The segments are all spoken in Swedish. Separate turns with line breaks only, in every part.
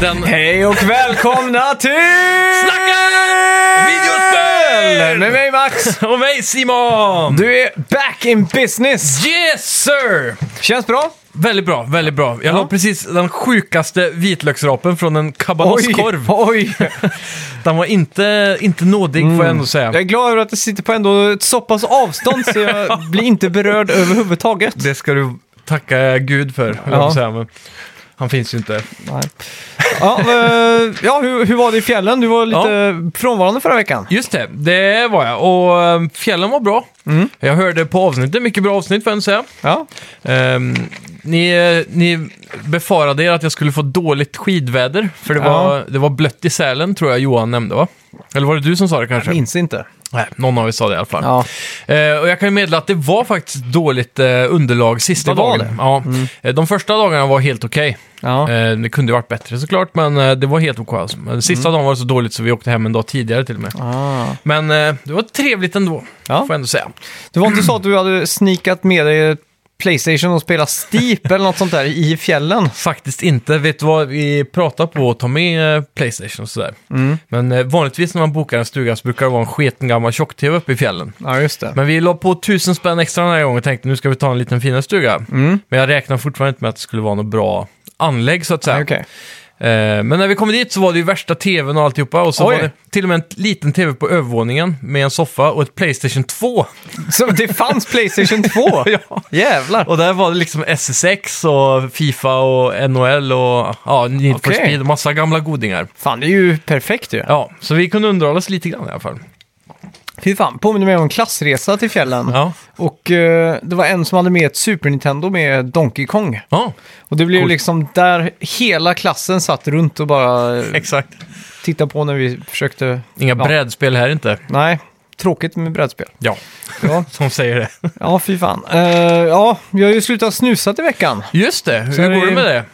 Den...
Hej och välkomna till...
Snacka videospel!
Med mig Max!
Och mig Simon!
Du är back in business!
Yes sir!
Känns bra?
Väldigt bra, väldigt bra. Jag la precis den sjukaste vitlöksrapen från en kabanosskorv.
Oj!
Den var inte, inte nådig får Mm. jag ändå säga.
Jag är glad över att det sitter på ändå ett så pass avstånd så jag blir inte berörd överhuvudtaget.
Det ska du tacka gud för, höll jag på att säga. Men han finns ju inte.
Nej. Ja, eh, ja hur, hur var det i fjällen? Du var lite frånvarande förra veckan.
Just det, det var jag. Och eh, fjällen var bra. Jag hörde på avsnittet, mycket bra avsnitt får jag ändå säga.
Ja.
Ehm, ni, eh, ni befarade er att jag skulle få dåligt skidväder, för det,
Ja.
var, det var blött i Sälen tror jag Johan nämnde va? Eller var det du som sa det kanske?
Minns inte.
Nej, någon av er sa det i alla fall.
Ja.
Eh, och jag kan ju meddela att det var faktiskt dåligt eh, underlag sista
Det
dagen.
var det? Mm.
Ja. Eh, De första dagarna var helt okej.
Ja.
Eh, det kunde ju varit bättre såklart, men eh, det var helt okej. Alltså. Men Sista
Mm.
dagen var det så dåligt så vi åkte hem en dag tidigare till och med.
Ah.
Men eh, det var trevligt ändå,
Ja.
får jag ändå säga.
Det var inte så att du hade snikat med dig Playstation och spelat Steep eller något sånt där i fjällen?
Faktiskt inte. Vet du vad vi pratar på att ta med eh, Playstation och sådär. Men eh, vanligtvis när man bokar en stuga så brukar det vara en sketen gammal tjock-tv uppe i fjällen.
Ja, just det.
Men vi la på tusen spänn extra den här gången och tänkte nu ska vi ta en liten finare stuga.
Mm,
Men jag räknar fortfarande inte med att det skulle vara något bra anlägg så att säga.
Okej.
Eh, men när vi kom dit så var det ju värsta tvn och alltihopa. Och så
Oj.
var det till och med en liten tv på övervåningen med en soffa och ett Playstation 2.
Så det fanns Playstation 2?
Ja.
Jävlar!
Och där var det liksom SSX och Fifa och NHL och ja, Need for
Okej.
Speed. Massa gamla godingar.
Fan, det är ju perfekt ju.
Ja, så vi kunde underhållas lite grann i alla fall.
Fy fan, påminner mig om en klassresa till fjällen.
Ja,
Och eh, det var en som hade med ett Super Nintendo med Donkey Kong.
ja
Och det blev
Coolt.
liksom där hela klassen satt runt och bara eh,
exakt.
tittade på när vi försökte...
Inga
Ja.
brädspel här inte.
Nej, tråkigt med brädspel.
Ja,
Ja,
som säger det.
ja fy fan. Eh, ja, jag har ju slutat snusa i veckan.
Just det,
Så
hur
det-
går det med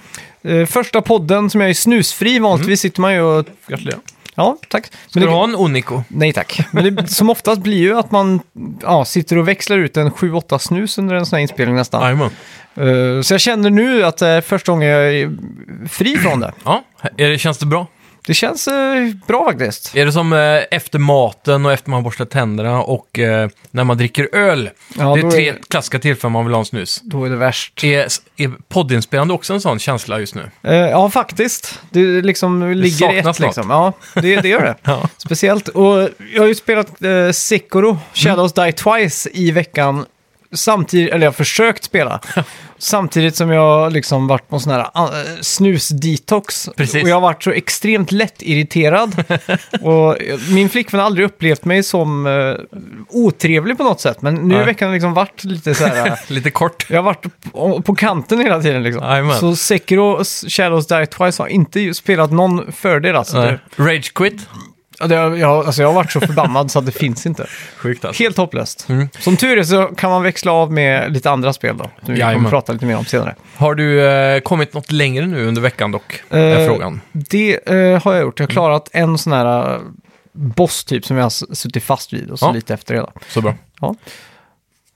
det?
Eh, första podden som jag är snusfri, vanligtvis sitter man ju och...
Gratulerar. Mm. Ska
Ja, tack. Men
du
det-
ha en Onico?
Nej tack. Men det, som oftast blir ju att man ja, sitter och växlar ut en 7-8 snus under en sån här inspelning nästan.
Jajamän.
Eh, så jag känner nu att det är första gången jag är fri från det.
Ja, är det, känns det bra?
Det känns eh, bra faktiskt.
Är det som eh, efter maten och efter man borstar tänderna och eh, när man dricker öl?
Ja,
det är
då är-
tre klassiska tillfällen man vill ha en snus.
Då är det värst.
Är, är poddinspelande också en sån känsla just nu?
Eh, ja, faktiskt. Det liksom ligger i ett
saknas något.
liksom. Ja, det, det gör det.
Ja.
Speciellt. Och jag har ju spelat eh, Sekiro, Shadows
Mm.
Die Twice, i veckan. Samtidigt, eller jag har försökt spela. Samtidigt som jag liksom varit på sån här eh, snusdetox.
Precis.
Och jag har varit så extremt lätt irriterad. och eh, min flickvän har aldrig upplevt mig som eh, otrevlig på något sätt. Men nu i
Nej.
veckan har jag liksom varit lite så här...
Lite kort.
Jag har varit på, på kanten hela tiden liksom.
Jajamän.
Så Sekiro och Shadows Die Twice har inte ju spelat någon fördel alltså.
Nej.
Det,
Eh, Rage quit.
ja, det, jag, alltså. Jag har varit så förbannad så att det finns inte.
Sjukt alltså.
Helt hopplöst.
Mm.
Som tur är så kan man växla av med lite andra spel då. Som vi kommer
Jajamän.
prata lite mer om senare.
Har du eh, kommit något längre nu under veckan dock? är
Eh,
frågan.
Det eh, har jag gjort.
Mm.
Jag har klarat en sån här eh, boss typ som jag har s- suttit fast vid och så
Ja.
lite efter det då.
Så bra.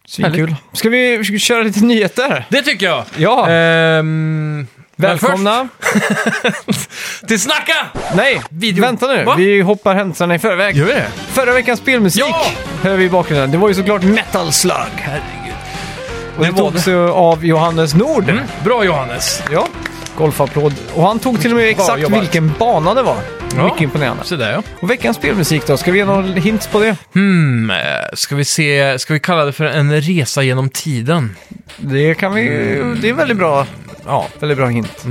Svinkul. Ska vi ska vi köra lite nyheter?
Det tycker jag!
Ja,
Ehm, men
välkomna.
först Till Snacka!
Nej,
Video-
vänta nu.
Va?
Vi hoppar händelserna i förväg.
Gör vi det?
Förra veckans spelmusik
Ja!
hör vi i bakgrunden. Det var ju såklart Metal Slug.
Herregud.
Och det
Det var
togs ju av Johannes Nord.
Mm. Bra Johannes!
Ja, golfapplåd. Och han tog till och med exakt
jobbat.
vilken bana det var.
Ja.
Mycket imponerande.
Så där ja.
Och veckans spelmusik då? Ska vi ge några hints på det?
Hmm, eh, ska vi se, ska vi kalla det för en resa genom tiden?
Det kan vi... Det är en väldigt bra,
Ja.
Mm. väldigt bra hint.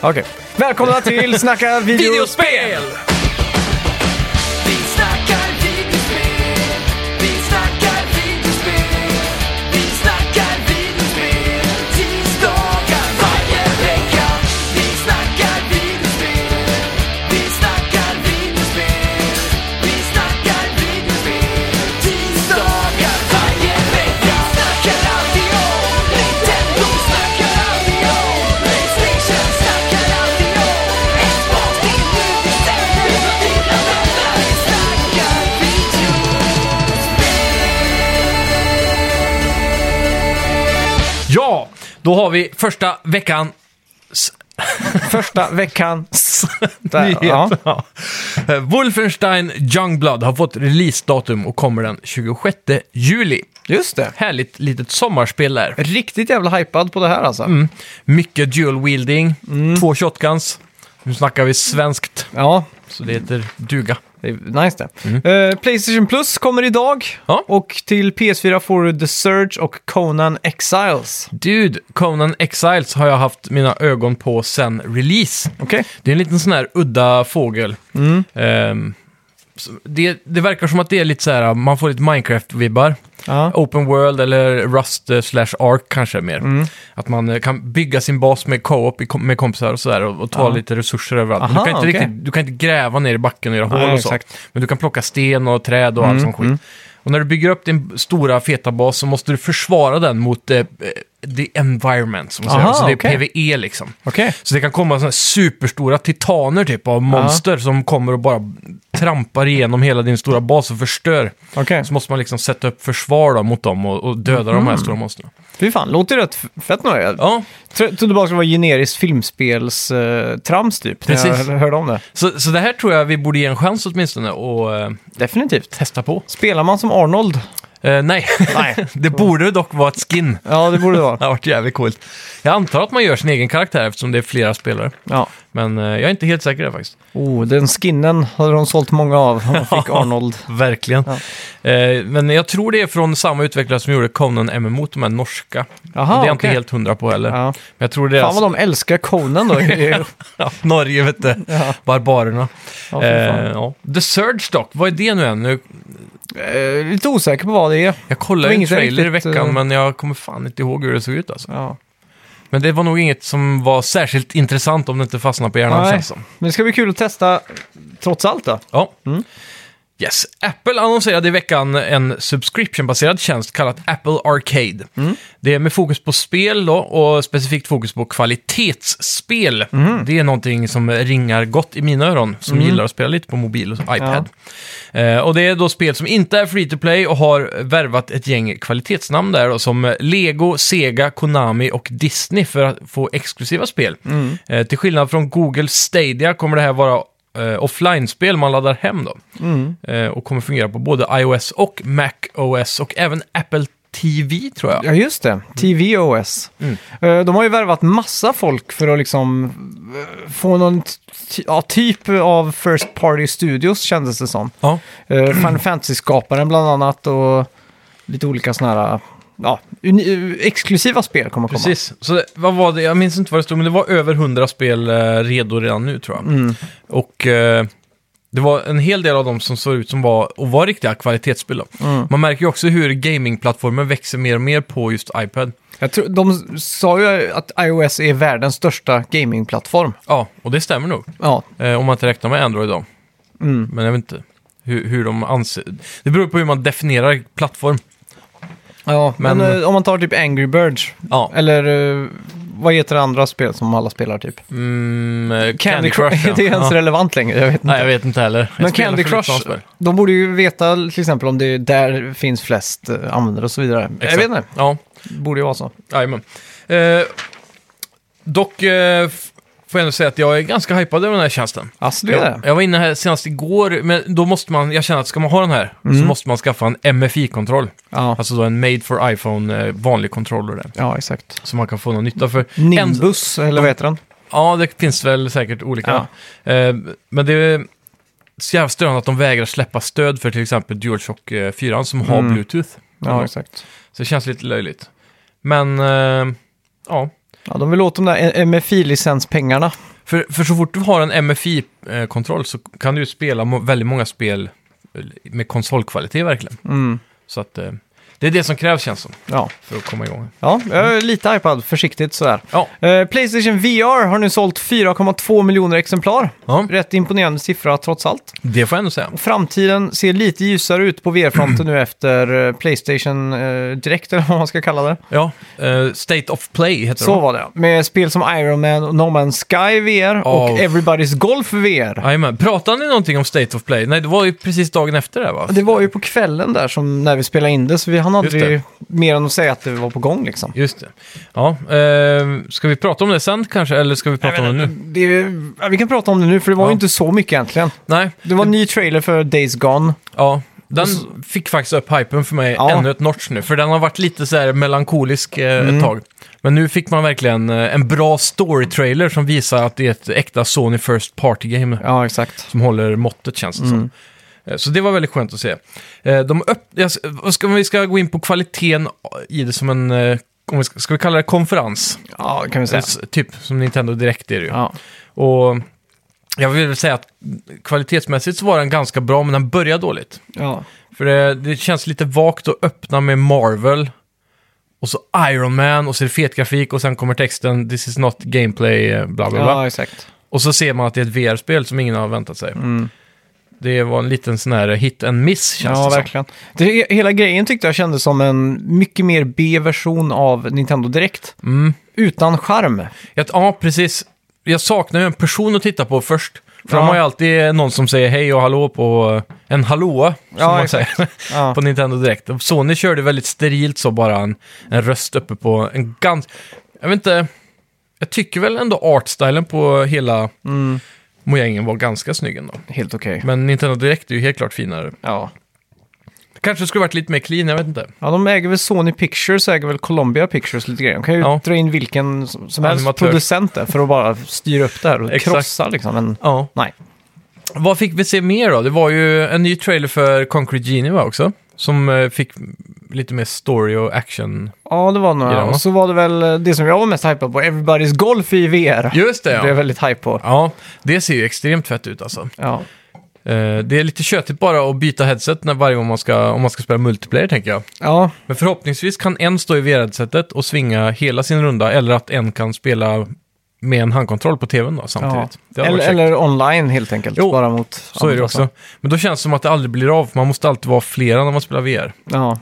Okej. Välkomna till Snacka video...
Videospel!
Vi snackar videospel, vi snackar videospel, vi snackar videospel tisdagar varje vecka. Vi snackar videospel, vi snackar videospel, vi snackar videospel tisdagar varje vecka. Snackar alltid om Nintendo, snackar alltid om Playstation, snackar alltid om Xbox, det är nu vi sänder från dina vänner. Vi snackar videospel.
Ja, då har vi första veckans
Första veckan. Där, ja.
Nyhet. Ja. Eh, Wolfenstein Youngblood har fått releasedatum och kommer den 26 juli.
Just det.
Härligt litet sommarspel där.
Riktigt jävla hypad på det här alltså.
Mycket dual wielding, två shotguns. Nu snackar vi svenskt,
Ja,
så det heter duga.
det är nice det. Eh, Playstation Plus kommer idag.
Ja.
Och till PS4 får du The Surge och Conan Exiles.
Dude, Conan Exiles har jag haft mina ögon på sen release.
Okej.
Det är en liten sån här udda fågel.
Mm.
Ehm, så det, det verkar som att det är lite så här, man får lite Minecraft-vibbar.
Ja.
Open World eller Rust eh, slash Ark kanske mer.
Mm.
Att man eh, kan bygga sin bas med co-op i kom- med kompisar och sådär och, och ta
Ja.
lite resurser överallt. Men
Aha,
du, kan inte
okej.
riktigt, du kan inte gräva ner i backen och göra hål
Nej,
och så.
exakt. Mm,
Men du kan plocka sten och träd och allt sånt skit. Och när du bygger upp din stora feta bas så måste du försvara den mot eh, eh, the environment, som man säger.
Aha,
Alltså det är
okej.
PVE liksom.
Okej.
Så det kan komma sådana här superstora titaner typ av monster som kommer och bara trampar igenom hela din stora bas och förstör.
Okej.
Så måste man liksom sätta upp försvar då, mot dem och, och döda de här stora monstren.
Fy fan, låter ju rätt f- fett nu. Jag
Ja,
tro- trodde bara det skulle vara generiskt filmspelstrams typ. När
Precis.
jag hörde om det.
så, så det här tror jag vi borde ge en chans åtminstone och eh,
Definitivt.
testa på.
Spelar man som Arnold?
Eh, nej,
Nej.
det borde dock vara ett skin.
Ja, det borde det vara.
Det har varit jävligt coolt. Jag antar att man gör sin egen karaktär eftersom det är flera spelare.
Ja.
Men eh, jag är inte helt säker där faktiskt.
Oh, den skinnen hade de sålt många av om de fick Arnold.
Verkligen. Eh, men jag tror det är från samma utvecklare som gjorde Conan MMO, de här norska.
Jaha,
det är jag
Ah, okej.
inte helt hundra på heller.
Ja.
Men jag tror
Fan
deras...
vad de älskar Conan då.
Ja, Norge, vet du.
Ja.
Barbarerna.
Ja, fy fan.
eh, ja. The Surge dock, vad är det nu än? Nu,
Eh, lite osäker på vad det är.
jag kollade
Det var
ju en
inget jag
trailer
riktigt,
i veckan,
eh,
men jag kommer fan inte ihåg hur det såg ut alltså.
Ja.
Men det var nog inget som var särskilt intressant om det inte fastnade på hjärnan
Nej.
känns som.
Men det ska bli kul att testa trots allt då.
Ja. Yes. Apple annonserade i veckan en subscription-baserad tjänst kallat Apple Arcade. Det är med fokus på spel då, och specifikt fokus på kvalitetsspel. Det är någonting som ringar gott i mina öron, som gillar att spela lite på mobil och iPad. Eh, och det är då spel som inte är free to play och har värvat ett gäng kvalitetsnamn där då, som eh, Lego, Sega, Konami och Disney för att få exklusiva spel. Eh, till skillnad från Google Stadia kommer det här vara eh, offline-spel man laddar hem då. Eh, och kommer fungera på både iOS och Mac OS och även Apple TV tror jag.
Ja, just det. TVOS. Eh, De har ju värvat massa folk för att liksom eh, få någon ty- ja, typ av First Party Studios kändes det som.
Ja,
Eh, Final Fantasy-skaparen bland annat och lite olika sådana här ja, uni- eh, exklusiva spel kommer komma.
precis. Så det- vad var det? Jag minns inte vad det stod, men det var över 100 spel eh, redo redan nu tror jag.
Mm.
Och eh, det var en hel del av dem som såg ut som var, och var riktiga kvalitetsspel. Då.
Mm.
Man märker ju också hur gamingplattformen växer mer och mer på just iPad.
Jag tror, de sa ju att iOS är världens största gamingplattform.
Ja, och det stämmer nog.
Ja,
Eh, om man inte räknar med Android då.
Mm.
Men jag vet inte hur, hur de anser... Det beror på hur man definierar plattform.
ja men,
Men-
eh, om man tar typ Angry Birds,
Ja.
eller eh, vad heter det andra spel som alla spelar typ?
Mm, eh, Candy, Crush, ja.
det är ens
ja.
relevant längre, jag vet inte.
Nej, jag vet inte heller. Jag
Men
spelar
Candy
för lite
Crush,
sådana spel.
de borde ju veta till exempel om det är där finns flest eh, användare och så vidare.
Exakt.
Jag vet inte,
Ja,
det borde ju vara så.
jajamän. Eh, dock eh, f- får jag ändå säga att jag är ganska hypad över den här tjänsten.
Alltså det är
jag,
det.
jag var inne här senast igår, men då måste man, jag känner att ska man ha den här
Mm.
så måste man skaffa en MFI-kontroll.
Ja,
Alltså då en made for iPhone eh, vanlig controller där.
ja exakt.
Så man kan få någon nytta för. en-
Nimbus, eller vad heter den?
Ja, det finns väl säkert olika. Eh, men det är så jävla störande att de vägrar släppa stöd för till exempel DualShock eh, 4 som har
Mm.
Bluetooth.
Ja, exakt.
Så det känns lite löjligt. Men, eh, ja.
Ja, de vill åt de där eh, MFI-licenspengarna.
För, för så fort du har en MFI-kontroll eh, så kan du ju spela mo- väldigt många spel eh, med konsolkvalitet verkligen.
Mm.
Så att eh, det är det som krävs känns som,
Ja.
för att komma igång.
ja, jag är lite iPad, försiktigt sådär.
Ja,
Eh, Playstation VR har nu sålt 4,2 miljoner exemplar.
ja
Rätt imponerande siffra trots allt.
det får jag ändå säga.
Framtiden ser lite ljusare ut på VR-fronten nu efter eh, Playstation eh, Direkt, eller vad man ska kalla det.
Ja, eh, State of Play heter
Så
det.
var det, ja. Med spel som Iron Man och No Man's Sky VR och
Oh.
Everybody's Golf VR.
Jajamän. Pratade ni någonting om State of Play? Nej, det var ju precis dagen efter det här, va?
Det var ju på kvällen där som när vi spelade in det, så vi hann hann
Just
aldrig mer än att säga att det var på gång liksom.
Just det. Ja, eh, ska vi prata om det sen kanske, eller ska vi prata om det nu?
Det, är- ja, vi kan prata om det nu, för det var
Ja.
ju inte så mycket egentligen.
Nej,
Det var en ny trailer för Days Gone.
ja. Den fick faktiskt upp hypen för mig
Ja.
ännu ett notch nu, för den har varit lite så här melankolisk eh,
Mm.
ett tag. Men nu fick man verkligen eh, en bra story-trailer som visar att det är ett äkta Sony First Party-game.
Ja, exakt.
som håller måttet känns det
Mm.
som. Eh, Så det var väldigt skönt att se. Eh, De öpp- jag s- vad ska, om vi ska gå in på kvaliteten i det som en, eh, om vi ska, ska vi kalla det konferens?
Ja, det kan vi
Eh,
säga.
s- Typ som Nintendo Direkt är det ju.
Ja.
Och jag vill väl säga att kvalitetsmässigt så var den ganska bra, men den började dåligt.
Ja.
För det, det känns lite vagt att öppna med Marvel, och så Iron Man, och så är det fet grafik, och sen kommer texten “This is not gameplay”, eh, bla bla bla.
ja, exakt.
Och så ser man att det är ett VR-spel som ingen har väntat sig. Det var en liten sån här hit and miss känns
Mm. Ja,
det
verkligen. Det, hela grejen tyckte jag kändes som en mycket mer B-version av Nintendo Direkt.
som. Mm.
Utan charm.
Jag, ja, precis. Jag saknar ju en person att titta på först. För
Ja.
de har ju alltid någon som säger hej och hallå på en hallåa, som
Ja,
man
exakt.
säger,
Ja.
på Nintendo Direkt. Och Sony körde väldigt sterilt så bara en, en röst uppe på en ganska... Jag vet inte, jag tycker väl ändå artstylen på hela
Mm.
mojängen var ganska snygg ändå.
Helt okej.
Men Nintendo Direkt är ju helt klart finare.
Ja.
Kanske skulle varit lite mer clean, jag vet inte.
ja, de äger väl Sony Pictures, äger väl Columbia Pictures lite grejer. De kan ju
Ja.
dra in vilken som som helst
Animatör.
producent där för att bara styra upp det här och
Exakt.
krossa liksom. Men
Ja.
nej.
Vad fick vi se mer då? Det var ju en ny trailer för Concrete Genie va, också. Som eh, fick lite mer story och action.
Ja, det var några.
Ja.
Och så var det väl eh, det som jag var mest hypad på, Everybody's Golf i VR.
Just det
Det är jag
ja.
väldigt hype på.
Ja, det ser ju extremt fett ut alltså.
Ja,
Eh, det är lite tjötigt bara att byta headset när varje gång man ska, om man ska spela multiplayer tänker jag.
ja,
Men förhoppningsvis kan en stå i VR-headsetet och svinga hela sin runda eller att en kan spela med en handkontroll på tvn då
ja.
samtidigt. Det hade
Eller,
varit käckt.
eller online helt enkelt.
Jo,
bara mot
Så är det
andra.
också. Men då känns det som att det aldrig blir av. Man måste alltid vara flera när man spelar VR.
Ja.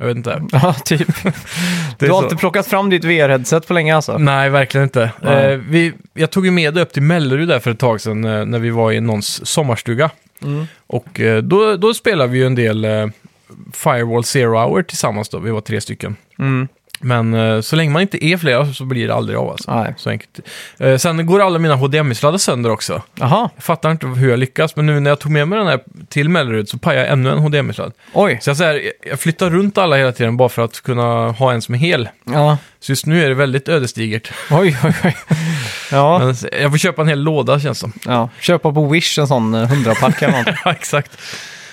Jag vet inte.
ja, typ.
Det är
Du har
så.
inte plockat fram ditt VR-headset på länge alltså?
Nej, verkligen inte.
Nej.
Eh, vi, jag tog ju med det upp till Mellerud där för ett tag sedan eh, när vi var i någons sommarstuga.
Mm.
Och eh, då, då spelade vi ju en del eh, Firewall Zero Hour tillsammans då, vi var tre stycken.
Mm.
Men eh, så länge man inte är flera så blir det aldrig av alltså.
Nej.
Så enkelt. Eh, sen går alla mina HDMI-sladdar sönder också.
Jaha,
Jag fattar inte hur jag lyckas, men nu när jag tog med mig den här till Mellerud så pajade jag ännu en HDMI-sladd.
oj.
Så jag, så här, jag flyttar runt alla hela tiden bara för att kunna ha en som är hel.
Ja.
Så just nu är det väldigt ödesdigert.
Oj, oj, oj. Ja,
Men jag får köpa en hel låda känns som.
ja. köpa på Wish en sån eh, hundrapack eller något.
Ja, exakt.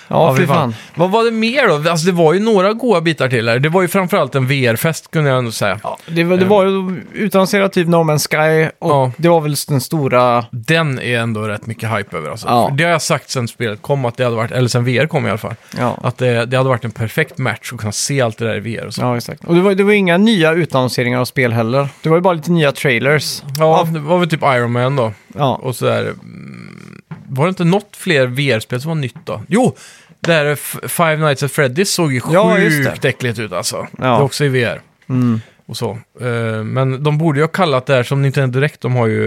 Ja,
Ja,
fy
fy
fan.
Vad var det mer då? Alltså, det var ju några goda bitar till här. Det var ju framförallt en VR-fest kunde jag ändå säga.
Ja, det, var- det var ju utannonserat typ No Man's Sky och
Ja.
det var väl den stora...
Den är ändå rätt mycket hype över. Alltså.
Ja.
För Det har jag sagt sen spelet kom, att det hade varit, eller sen VR kom i alla fall,
Ja,
att det, det hade varit en perfekt match att kunna se allt det där i VR. Och så.
ja exakt. Och det var, det var inga nya utannonseringar av spel heller. Det var ju bara lite nya trailers.
Ja, det var väl typ Iron Man då.
Ja,
Och så där, mm, var det inte något fler VR-spel som var nytt då? Jo! Där F- Five Nights at Freddy's såg ju
Ja, just det.
sjukt äckligt ut alltså. Det
Ja.
är också i VR.
mm.
och så. Eh, Men de borde ju ha kallat det här som Nintendo Direkt, de har ju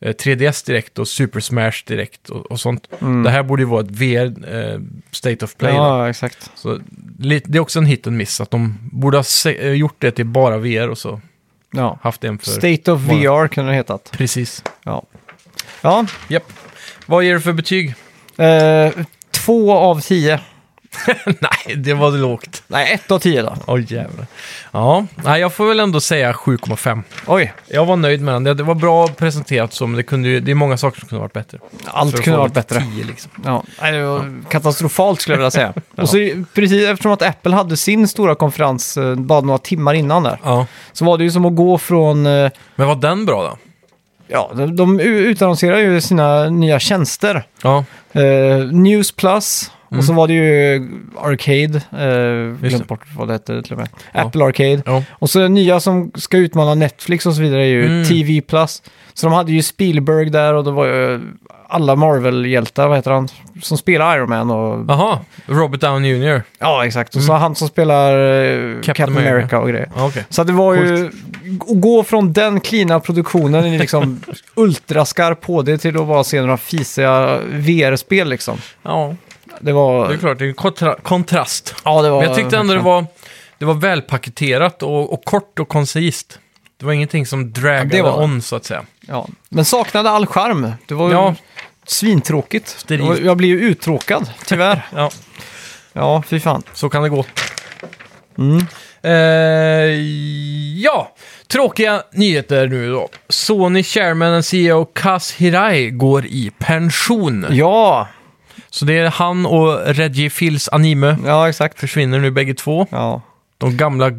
eh, 3DS Direkt och Super Smash Direkt och, och sånt.
Mm.
Det här borde ju vara ett VR eh, State of Play. då.
ja exakt.
Så li- det är också en hit and miss, att de borde ha se- eh, gjort det till bara VR och så
Ja.
haft en för...
State of
Månad.
VR kunde det hetat.
Precis.
Ja. ja
Japp. Vad ger du för betyg?
eh, två av tio.
Nej, det var lågt.
Nej, ett av tio då.
Åh jävlar. Ja, nej, jag får väl ändå säga 7,5.
Oj,
Jag var nöjd med den. Det- Det var bra presenterat så, men det, kunde ju, det är många saker som kunde ha varit bättre. För
allt
att
kunde
få
varit bättre.
10 liksom.
Ja, nej, det var katastrofalt skulle jag vilja säga. Och så precis eftersom att Apple hade sin stora konferens eh, bara några timmar innan där,
Ja.
så var det ju som att gå från... eh,
Men var den bra då?
Ja, de, de u- utannonserar ju sina nya tjänster.
Ja,
Eh, News Plus,
Mm.
och så var det ju Arcade, eh,
det.
glömt bort vad det hette till och med.
Ja.
Apple Arcade.
ja.
Och så nya som ska utmana Netflix och så vidare är ju
Mm.
TV Plus. Så de hade ju Spielberg där och det var ju alla Marvel-hjältar, vad heter han, som spelar Iron Man och...
Aha, Robert Downey Jr.
Ja, exakt. Och så han som spelar eh, Captain, America.
Mm. America.
och grejer.
Ja, Okej.
Så att det var ju att gå från den klina produktionen i liksom ultraskarp HD till att bara se några fisiga VR-spel liksom.
Ja,
Det var...
det är klart, det är en kontra- kontrast.
Ja, det var...
Men jag tyckte ändå det var... Det var välpaketerat och, och kort och koncist. Det var ingenting som draggade
det var det.
on, så att säga.
Ja. Men saknade all charm. Det var ju
Ja.
svintråkigt.
Sterilt.
Och Jag blev ju uttråkad, tyvärr.
Ja,
ja, fy fan.
så kan det gå.
Mm.
Eh, ja, tråkiga nyheter nu då. Sony Chairman and CEO Kaz Hirai går i pension.
Ja,
Så det är han och Reggie Fils anime
ja exakt.
försvinner nu bägge två.
Ja.
De gamla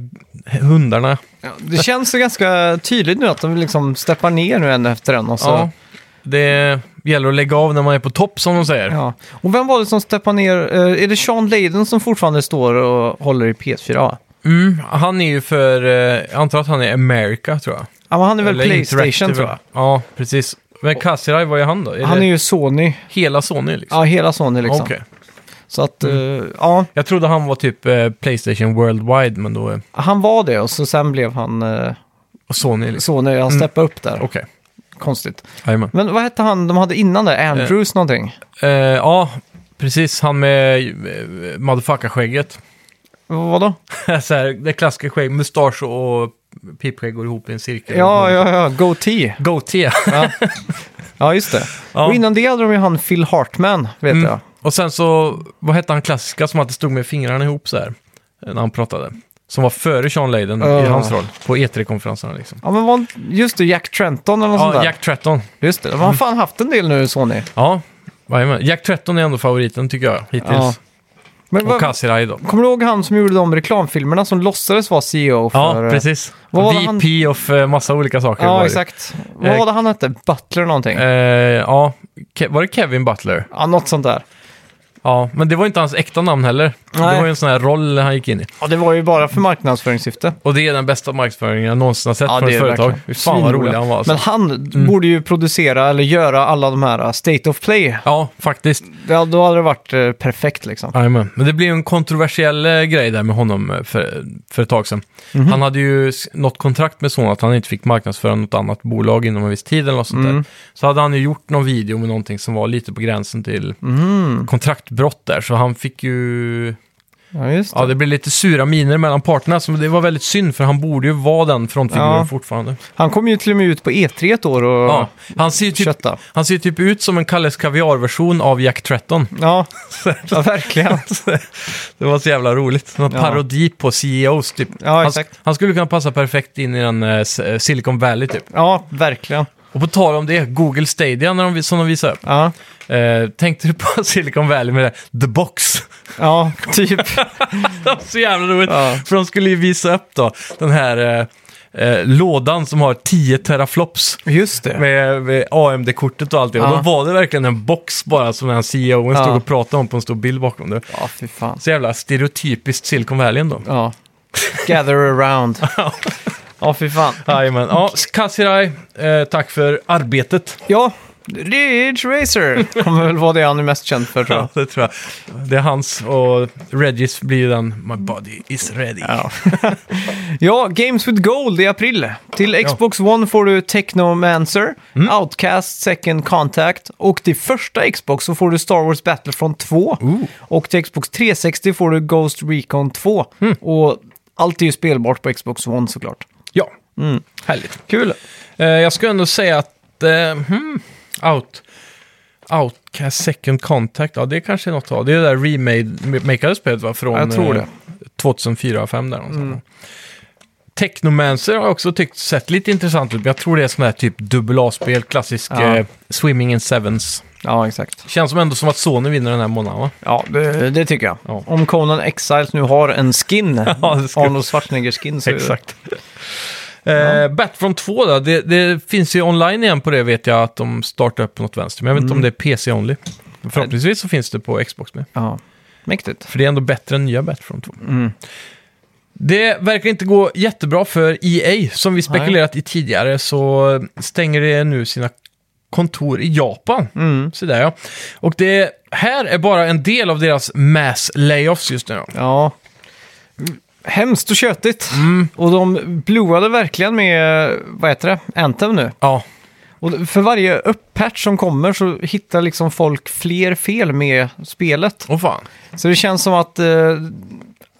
hundarna.
Ja, Det känns ju ganska tydligt nu att de liksom steppar ner nu en efter en. Och, så.
Ja,
Ja.
det gäller att lägga av när man är på topp som de säger.
och vem var det som steppade ner? Eh, Är det Sean Layden som fortfarande står och håller i PS4? va?
Mm, han är ju för, eh, jag antar att han är America tror jag.
Ja, men han är väl
Eller
Playstation
Interactive.
tror jag.
Ja, precis. Men Kassirai, vad är han då? Är
Han
det
är ju Sony.
hela Sony liksom?
Ja, hela Sony liksom.
Okej.
Så att, eh, ja,
Jag trodde han var typ eh, Playstation Worldwide, men då... Eh,
han var det och så sen blev han eh,
och Sony liksom.
Sony. Han steppade upp där.
Okej,
Konstigt.
jajamän.
Men vad hette han de hade innan där? Andrews någonting?
Eh, Ja, precis. Han med eh, motherfucker-skägget.
Vadå?
Så här, det klassiska skägget, mustasch och pipskägg går ihop i en cirkel.
Ja, ja, ja. Goatee.
Goatee.
Ja, just det.
Ja.
Och innan det hade de ju han Phil Hartman, vet
Mm.
jag.
Och sen så, vad hette han klassiska som alltid stod med fingrarna ihop så här eh, när han pratade? Som var före Sean Layden i
Ja.
hans roll på E3-konferenserna liksom.
Ja, men var, just det, Jack Trenton eller något sånt
Ja,
där.
Jack Mm. Tretton.
Just det, de har fan haft en del nu, Sony.
Ja, jajamän. Jack Tretton är ändå favoriten tycker jag
Ja.
hittills.
Men
Och
vad-
Kassirai då.
kommer du ihåg han som gjorde de reklamfilmerna som låtsades vara CEO
Ja,
för... eh,
precis.
vad var det
VP of eh, massa olika saker. var
Ja,
det.
exakt. Vad var det han hette? Butler någonting?
Eh, ja, Ke- var det Kevin Butler?
Ja, något sånt där.
Ja, men det var inte hans äkta namn heller.
Nej.
Det var ju en sån här roll han gick in i.
Ja, det var ju bara för marknadsföringssyfte.
Och det är den bästa marknadsföringen jag någonsin har sett
Ja,
från ett
det är
företag.
verkligen.
Fy fan vad rolig
Svinrolig.
han var alltså.
Men han borde ju producera eller göra alla de här uh, State of Play.
Ja, faktiskt.
Ja, då hade det varit eh, perfekt liksom.
Jajamän. Men det blev ju en kontroversiell eh, grej där med honom eh, för, för ett tag sedan.
Mhm.
Han hade ju s- något kontrakt med Sony att han inte fick marknadsföra något annat bolag inom en viss tid eller något sånt
Mm.
där. Så hade han ju gjort någon video med någonting som var lite på gränsen till
Mm.
kontraktbrott där. Så han fick ju...
Ja, just det.
Ja, det blev lite sura miner mellan parterna. Så det var väldigt synd för han borde ju vara den frontfiguren
Ja.
fortfarande.
Han kom ju till och med ut på E3 ett år och
Ja. Han ser ju typ,
kötta.
han ser ju typ ut som en Kalles Kaviar-version av Jack Tretton.
Ja, ja verkligen.
Det var så jävla roligt. Någon
Ja.
parodi på CEOs typ.
Ja,
han,
exakt.
han skulle kunna passa perfekt in i den eh, S- eh, Silicon Valley typ.
Ja, verkligen.
Och på tal om det, Google Stadia när de, vi- som de visade upp.
Ja,
Eh, tänkte du på Silicon Valley med det? The Box?
ja typ.
det var så jävla roligt.
Ja.
För de skulle ju visa upp då den här eh, eh, lådan som har 10 teraflops.
Just det.
Med, med AMD-kortet och allt det. Och
Ja.
då var det verkligen en box bara som den här CEOn
Ja.
stod och pratade om på en stor bild bakom det.
Ja, fy fan.
Så jävla stereotypiskt Silicon Valley ändå.
Ja. Gather around. ja, fy fan.
Jajamän. Ja, Kassirai, eh, tack för arbetet.
Ja, Ridge Racer kommer väl vara det han är mest känd för tror jag.
Ja, det tror jag. Det är hans och Regis blir ju den My body is ready.
Ja. ja, Games with Gold i april. Till Xbox One får du Technomancer,
Mm.
Outcast Second Contact och till första Xbox så får du Star Wars Battlefront 2. Och till Xbox 360 får du Ghost Recon 2.
Hmm.
Och allt är ju spelbart på Xbox One såklart.
Ja.
Mm.
Härligt.
Kul!
Eh, jag skulle ändå säga att eh, hmm, out, Outcast Second Contact, ja det kanske är något att ha. Det är det där remade-makade spelet va? Från
Ja, jag tror
eh,
det. Mm.
2004-2005 där någonstans. Technomancer har jag också tyckt sett lite intressant ut, men jag tror det är sån här typ dubbel A-spel, klassisk
Ja.
eh, Swimming in Sevens.
Ja, exakt.
Känns som ändå som att Sony vinner den här månaden va?
Ja, det, det tycker jag.
Ja.
Om Conan Exiles nu har en skin,
Ja, det skulle-
Arnold Schwarzenegger-skin, så är det-
Eh, Battlefront 2 då, det, det finns ju online igen på det vet jag att de startar upp på något vänster. Men jag vet inte om det är PC-only. Förhoppningsvis så finns det på Xbox med.
Ja, mäktigt.
För det är ändå bättre än nya Battlefront 2. Det verkar inte gå jättebra för EA. Som vi spekulerat i tidigare så stänger det nu sina kontor i Japan. Så där ja. Och det här är bara en del av deras mass layoffs just nu. då.
Ja. Hemskt och tjötigt. Och de blowade verkligen med, vad heter det, Anthem nu.
Ja,
Och för varje uppatch som kommer så hittar liksom folk fler fel med spelet.
åh fan.
Så det känns som att eh,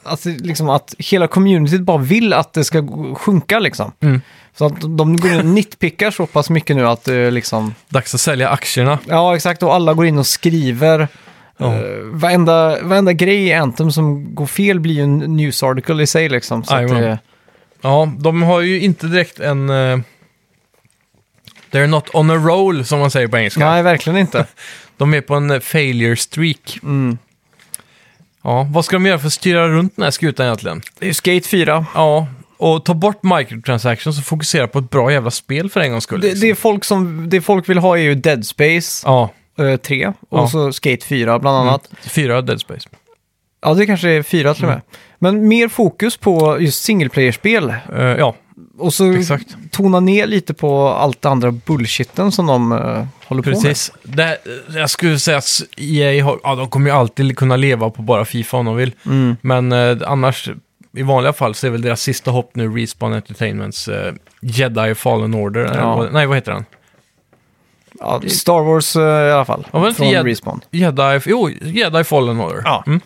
att, det liksom, att hela communityt bara vill att det ska gå- sjunka liksom. Så att de går in och nitpickar så pass mycket nu att det liksom...
Dags att sälja aktierna.
Ja, exakt. Och alla går in och skriver.
Ja.
Eh, varenda, varenda grej i Anthem som går fel blir ju en news article i sig liksom. Så att
Jajamän.
det,
Ja, de har ju inte direkt en... eh, they're not on a roll, som man säger på engelska.
nej, verkligen inte.
De är på en eh, failure streak.
Mm.
Ja, vad ska de göra för att styra runt den här skutan egentligen?
Det är ju Skate 4.
Ja, och ta bort microtransactions och fokusera på ett bra jävla spel för en gångs skull.
Det,
liksom.
det, är folk som, det folk vill ha är ju Dead Space
Ja,
eh, 3 och
Ja. Mm.
så Skate 4 bland annat.
fyra Dead Space.
Ja, det kanske är 4 till och
Mm.
med. Men mer fokus på just single player-spel.
Eh, ja,
Och så
Exakt.
tona ner lite på allt det andra bullshitten som de eh, håller på med.
precis. Det, här, eh, jag skulle säga att EA har, ja, de kommer ju alltid kunna leva på bara Fifa om de vill.
Mm.
Men eh, annars, i vanliga fall, så är väl deras sista hopp nu Respawn Entertainments eh, Jedi Fallen Order. eller
Ja.
vad- Nej, vad heter den?
Ja, Star Wars eh, i alla fall.
Ja, men
från
Jed-
Respawn.
Jedi, jo, Jedi Fallen Order.
Ja.
Mm.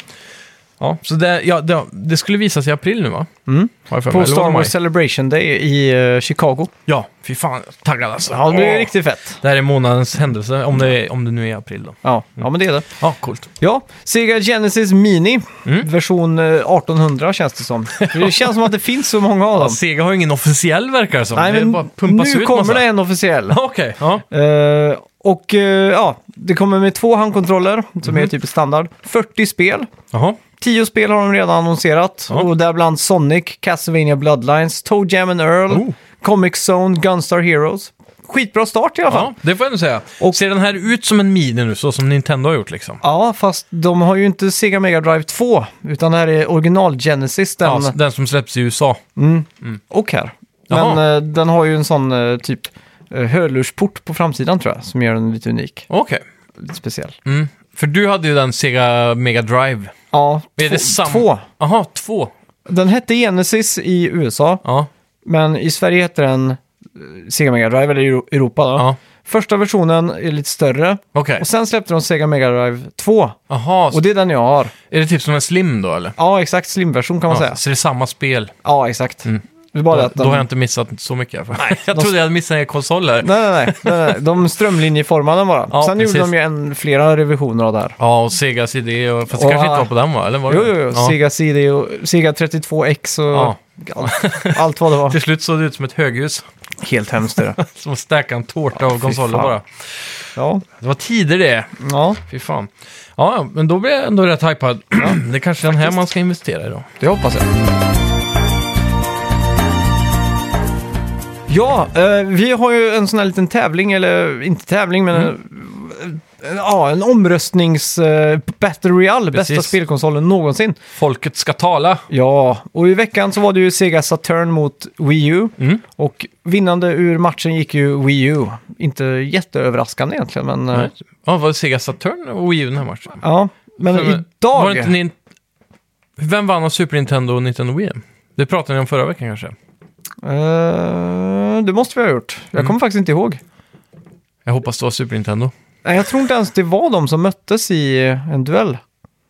Ja, så det, ja, det, det skulle visas i april nu va?
Mm.
Har jag för mig. Eller
På
var
Star
det maj?
Wars Celebration Day i eh, Chicago.
Ja, fy fan, taggad alltså.
Ja, det blir
Åh.
riktigt fett.
Det här är månadens händelse, om det, är, om det nu är april då.
Ja, ja, men det är det.
Ja, coolt.
Ja, Sega Genesis Mini,
Mm.
version eh, 1800 känns det som. Det känns som att det finns så många av
Ja,
dem.
Sega har ju ingen officiell verkar Alltså, det som.
Nej,
det
men
bara pumpas
nu
ut
kommer
massa.
det en officiell.
Ja, Okej, ja.
Eh, och eh, ja, det kommer med två handkontroller som
Mm.
är typ standard. 40 spel.
Jaha.
10 spel har de redan annonserat.
Ja.
Och däribland Sonic, Castlevania Bloodlines, Toe Jam and Earl,
Oh.
Comic Zone, Gunstar Heroes. Skitbra start i alla fall.
Ja, det får jag ändå säga.
Och-
Ser den här ut som en mini nu, så som Nintendo har gjort liksom?
Ja. fast de har ju inte Sega Mega Drive 2, utan det här är original Genesis. Den, mm,
Ja, s- den som släpps i USA.
Och här.
Jaha.
Men eh, den har ju en sån eh, typ eh, hörlursport på framsidan tror jag, som gör den lite unik.
Okej.
Lite speciell.
Mm. För du hade ju den Sega Mega Drive.
Ja,
Är
två,
det samma?
två.
Jaha, två.
Den hette Genesis i USA,
Ja,
men i Sverige heter den eh, Sega Mega Drive, eller i Euro- Europa då.
ja.
Första versionen är lite större
okej.
och sen släppte de Sega Mega Drive 2
Jaha, så
och det är den jag har.
är det typ som en Slim då eller?
Ja, exakt. Slimversion kan man
Ja,
säga.
så det är samma spel?
Ja, exakt. Det är bara det
Då,
att
då
de...
har jag inte missat så mycket i alla fall. Jag
de-
trodde jag hade missat en konsol här.
Nej, nej, nej, nej, nej. De strömlinjeformade den bara.
Ja,
sen
precis.
gjorde de ju en, flera revisioner av det här.
Ja, och Segas idé, och, fast det
Och-
kanske inte var på den va? Eller var det
Jo,
det?
jo, jo.
Ja.
Sega CD och Sega 32X och
Ja.
allt, allt vad det var.
Till slut såg det ut som ett höghus.
Helt hemskt det där.
Som att stäka en tårta av
fy
konsolen
fan.
bara.
Ja,
Det var tider det.
ja.
Fy fan. Ja, ja, men då blir jag ändå rätt hypad. det är kanske är den här man ska investera i då.
det hoppas jag. Ja, eh, vi har ju en sån här liten tävling, eller inte tävling, men
Mm.
eh, en, ja, en omröstnings eh, Battle Royale, bästa
Precis.
spelkonsolen någonsin.
Folket ska tala.
Ja, och i veckan så var det ju Sega Saturn mot Wii U.
Mm.
Och vinnande ur matchen gick ju Wii U. Inte jätteöverraskande egentligen, men... eh,
Ja, var det Sega Saturn och Wii U den här matchen?
Ja, men
För-
idag...
Var det inte nin... Vem vann av Super Nintendo och Nintendo Wii? Det pratade ni om förra veckan kanske?
Eh, det måste vi ha gjort. Jag
Mm.
kommer faktiskt inte ihåg.
Jag hoppas det var Super Nintendo.
Nej, jag tror inte ens det var de som möttes i en duell.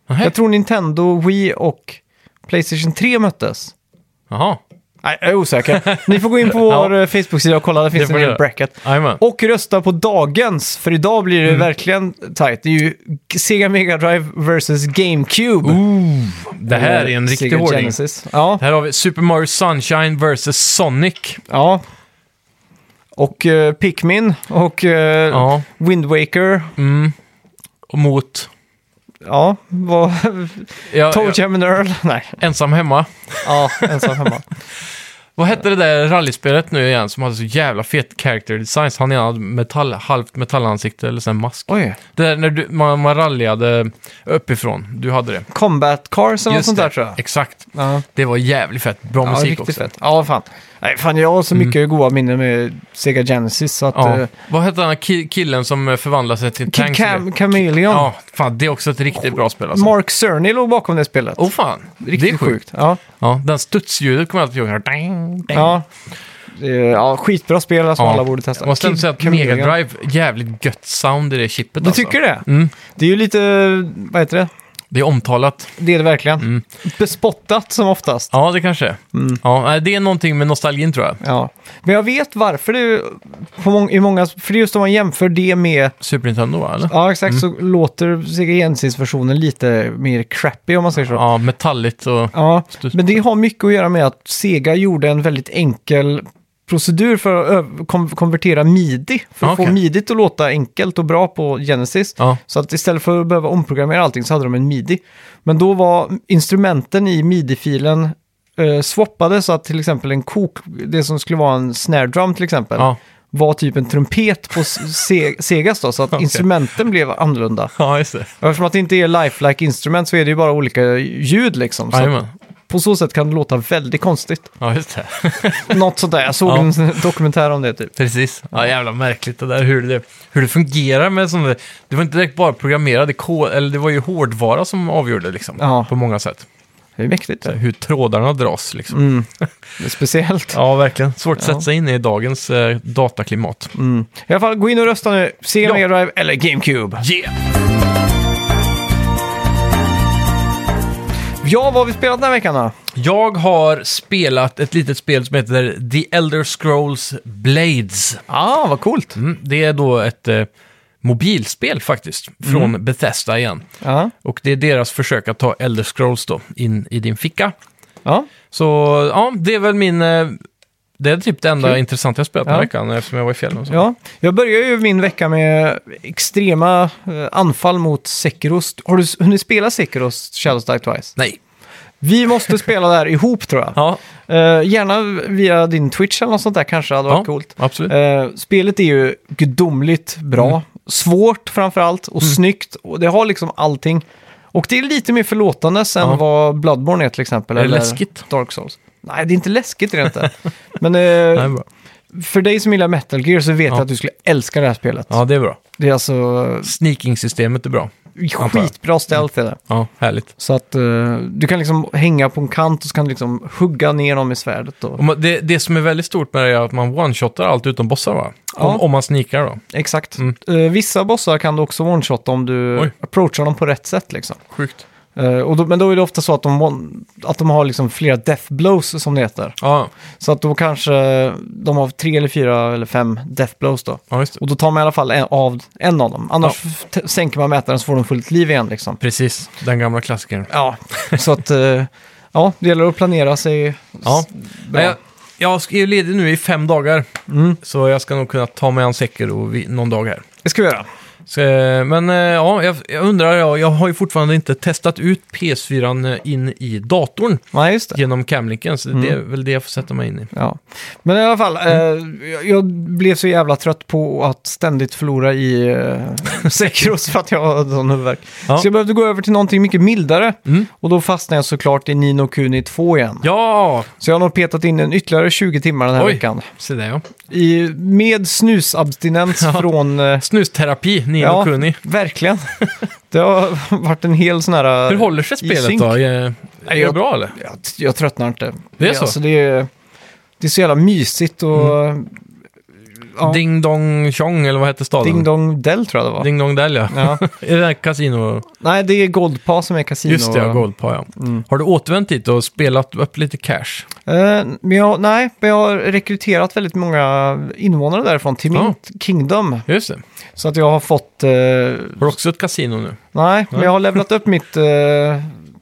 Nähä.
Jag tror Nintendo, Wii och Playstation 3 möttes.
Jaha,
Nej, jag är osäker. Ni får gå in på
Ja.
vår eh, Facebook-sida och kolla, där finns
får
en
ni
hel
göra.
bracket.
jajamän.
Och rösta på dagens, för idag blir det
Mm.
verkligen tight. Det är ju Sega Mega Drive vs GameCube.
Ooh, det här är en
Eller
riktig
Sega
hårding.
Genesis. Ja,
Här har vi Super Mario Sunshine vs. Sonic.
ja. Och eh, Pikmin och eh,
Ja.
Wind Waker.
Mm. Och mot...
Ja, vad...
Jag,
Toe
jag,
Jam and Earl. Nej,
ensam hemma.
ja, ensam hemma.
Vad hette det där rallyspelet nu igen som hade så jävla fet character designs? Han ena hade metall, halvt metallansikte eller sån här mask.
Oj.
Det där när du, man, man rallyade uppifrån. Du hade det.
Combat Cars eller något
Just
sånt
det.
där tror jag.
Exakt.
Ja,
Det var jävligt fett. Bra
ja
musik
riktigt
också. Mm.
fett. Ja, fan. Nej, fan, jag har så mycket goda minnen med Sega Genesis så att...
Ja.
eh,
Vad hette den här ki- killen som eh, förvandlade sig till en
Kid
tank?
Cam Chameleon.
Ja, fan det är också ett riktigt bra spel alltså.
Mark Cerny låg bakom det spelet.
Åh fan, det är
Riktigt
sjukt.
sjukt. Ja.
Ja, den studsljudet kommer jag alltid ihåg. Här, Dang, dang.
Ja. Det är- ja, skitbra spel som alla borde testa.
Jag måste ändå
Kid
säga att
Chameleon.
Mega Drive, jävligt gött sound i det chippet
Du
alltså.
tycker det?
Mm.
Det är ju lite, vad heter det?
Det är omtalat.
Det är det verkligen.
Mm.
Bespottat som oftast.
Ja, det kanske är.
Mm.
Ja, nej, det är någonting med nostalgin tror jag.
Ja. Men jag vet varför det på mång- i många... För det är just om man jämför det med...
Super Nintendo, va? Eller?
Ja, exakt. Så låter Sega Genesis-versionen lite mer crappy om man säger så.
Ja, metalligt och...
Ja,
Stus-
men det har mycket att göra med att Sega gjorde en väldigt enkel procedur för att ö- kom- konvertera midi, för att
Ah,
få
okej.
midi att låta enkelt och bra på Genesis.
Ja.
Så att istället för att behöva omprogrammera allting så hade de en midi. Men då var instrumenten i midi-filen eh, swappade så att till exempel en kok, det som skulle vara en snare drum till exempel,
Ja.
var typ en trumpet på S- Se- Segas då, så att
Okej.
instrumenten blev annorlunda.
ja, just det.
Och Eftersom att det inte är lifelike instrument så är det ju bara olika ljud liksom. Så att
Jajamän.
på så sätt kan det låta väldigt konstigt.
Ja, just det.
Något sånt där. Jag såg
Ja.
en dokumentär om det typ.
Precis. Ja, jävla märkligt det där hur det, hur det fungerar med sånt där. Det var inte direkt bara programmerade kod, eller det var ju hårdvara som avgjorde liksom.
Ja.
På många sätt.
Det är mäktigt.
Hur trådarna dras liksom.
Det är speciellt.
Ja, Mm. verkligen. Svårt att sätta sig in i dagens eh, dataklimat.
I alla fall, gå in och rösta nu. Sega
Ja.
Mega Drive eller GameCube.
Yeah!
Ja, vad har vi spelat den här veckan då?
Jag har spelat ett litet spel som heter The Elder Scrolls Blades.
Ah, vad coolt.
Mm, det är då ett eh, mobilspel faktiskt, från Bethesda igen.
Ja.
Och det är deras försök att ta Elder Scrolls då, in i din ficka.
ja.
Så ja, det är väl min... eh, Det är typ det enda
Kul.
intressanta jag spelat den
Ja.
här veckan eftersom jag var i fjällen och så.
Ja, jag börjar ju min vecka med extrema eh, anfall mot Sekiros. Har du s- hunnit spela Sekiros Shadows Die Twice?
Nej.
Vi måste spela där ihop tror jag.
Ja,
Eh, gärna via din Twitch eller något sånt där kanske hade varit
ja
coolt.
absolut.
Eh, spelet är ju gudomligt bra.
Mm.
Svårt framförallt och snyggt. Och det har liksom allting. Och det är lite mer förlåtande än
Ja.
vad Bloodborne är till exempel.
Är det
eller
läskigt?
Dark Souls. Nej, det är inte läskigt rent inte. Men
Nej,
eh,
bra.
för dig som gillar Metal Gear så vet jag
Ja.
att du skulle älska det här spelet.
Ja, det är bra.
Det är alltså
Sneaking-systemet är bra.
eh, skitbra stealth är det.
Ja, härligt.
Så att eh, du kan liksom hänga på en kant och så kan du liksom hugga ner dem i svärdet. Och...
Och man, det, det som är väldigt stort med det är att man one-shotar allt utom bossar va?
Ja.
Om, om man sneakar då.
Exakt.
Mm.
Eh, vissa bossar kan du också one-shotta om du
Oj.
approachar dem på rätt sätt liksom.
Sjukt.
Eh, och då, men då är det ofta så att de, won- att de har liksom flera death blows som det heter.
Ja,
Så att då kanske de har tre eller fyra eller fem death blows då.
ja just det.
Och då tar man i alla fall en av, en av dem. Annars f- t- sänker man mätaren så får de fullt liv igen liksom.
Precis, den gamla klassikern.
Ja, så att eh, ja, det gäller att planera sig.
Ja.
bra.
Nej, Jag, jag ska- är ju ledig nu i fem dagar,
Mm.
så jag ska nog kunna ta mig an säker och vi, någon dag här.
Det ska vi göra.
Så, eh, men eh, ja, jag, jag undrar, jag, jag har ju fortfarande inte testat ut PS4 eh, in i datorn
Nej, just det.
genom Camlinken, så
Mm.
det är väl det jag får sätta mig in i.
Ja. Men i alla fall, eh, jag- jag blev så jävla trött på att ständigt förlora i eh, Sekiros för att jag har sån huvudvärk.
Ja.
Så jag behövde gå över till någonting mycket mildare.
Mm.
Och då fastnade jag såklart i Nino Kuni 2 igen.
Ja,
Så jag har nog petat in en ytterligare 20 timmar den här
Oj.
veckan.
se där ja.
I, med snusabstinens
Ja.
från... eh,
Snusterapi, Nino
Ja.
Kuni.
verkligen. Det har varit en hel sån här... eh,
Hur håller sig
i
spelet
synk.
då? Eh, Är, är det
jag-
bra eller?
Jag, jag tröttnar inte.
Det är så?
Alltså, det, är, det är så jävla mysigt och...
Mm.
Ja, ding,
Ding Dong Chong, eller vad hette staden?
Dong Dell tror jag det var.
Ding Dong Dell ja.
Ja.
Är det där kasino...
Nej, det är Goldpa som är kasino.
Just det, ja, Goldpa ja.
Mm.
Har du återvänt dit och spelat upp lite cash?
Eh, men jag, nej, men jag har rekryterat väldigt många invånare därifrån till
Ja.
mitt kingdom.
Just det.
Så att jag har fått... eh,
Har du också ett kasino nu?
nej, men jag har levlat upp mitt, eh,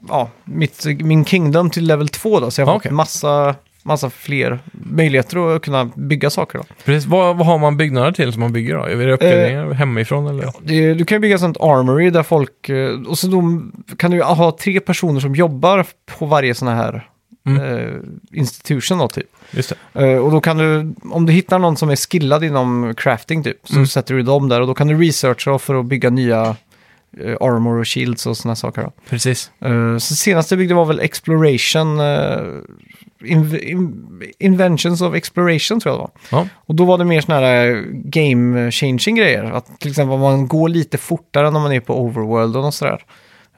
ja, mitt, min kingdom till level 2 då. Så jag har
Ah,
fått
okej.
massa, massa fler möjligheter att kunna bygga saker då.
Precis. Vad, vad har man byggnader till som man bygger då? Är
Eh,
det uppgraderingar hemifrån eller?
Det, du kan ju bygga ett sånt armory där folk... eh, Och så de, kan du ju ha tre personer som jobbar på varje sån här
Mm.
eh, institution då typ.
Just det.
Eh, och då kan du, om du hittar någon som är skillad inom crafting typ, så
Mm.
sätter du dem där och då kan du researcha för att bygga nya eh, armor och shields och sådana saker. Då.
Precis.
Eh, så senast jag byggde var väl exploration, eh, inv- in, inventions of exploration tror jag det var.
Ja.
Och då var det mer sådana här game changing grejer, att till exempel man går lite fortare när man är på overworld och sådär.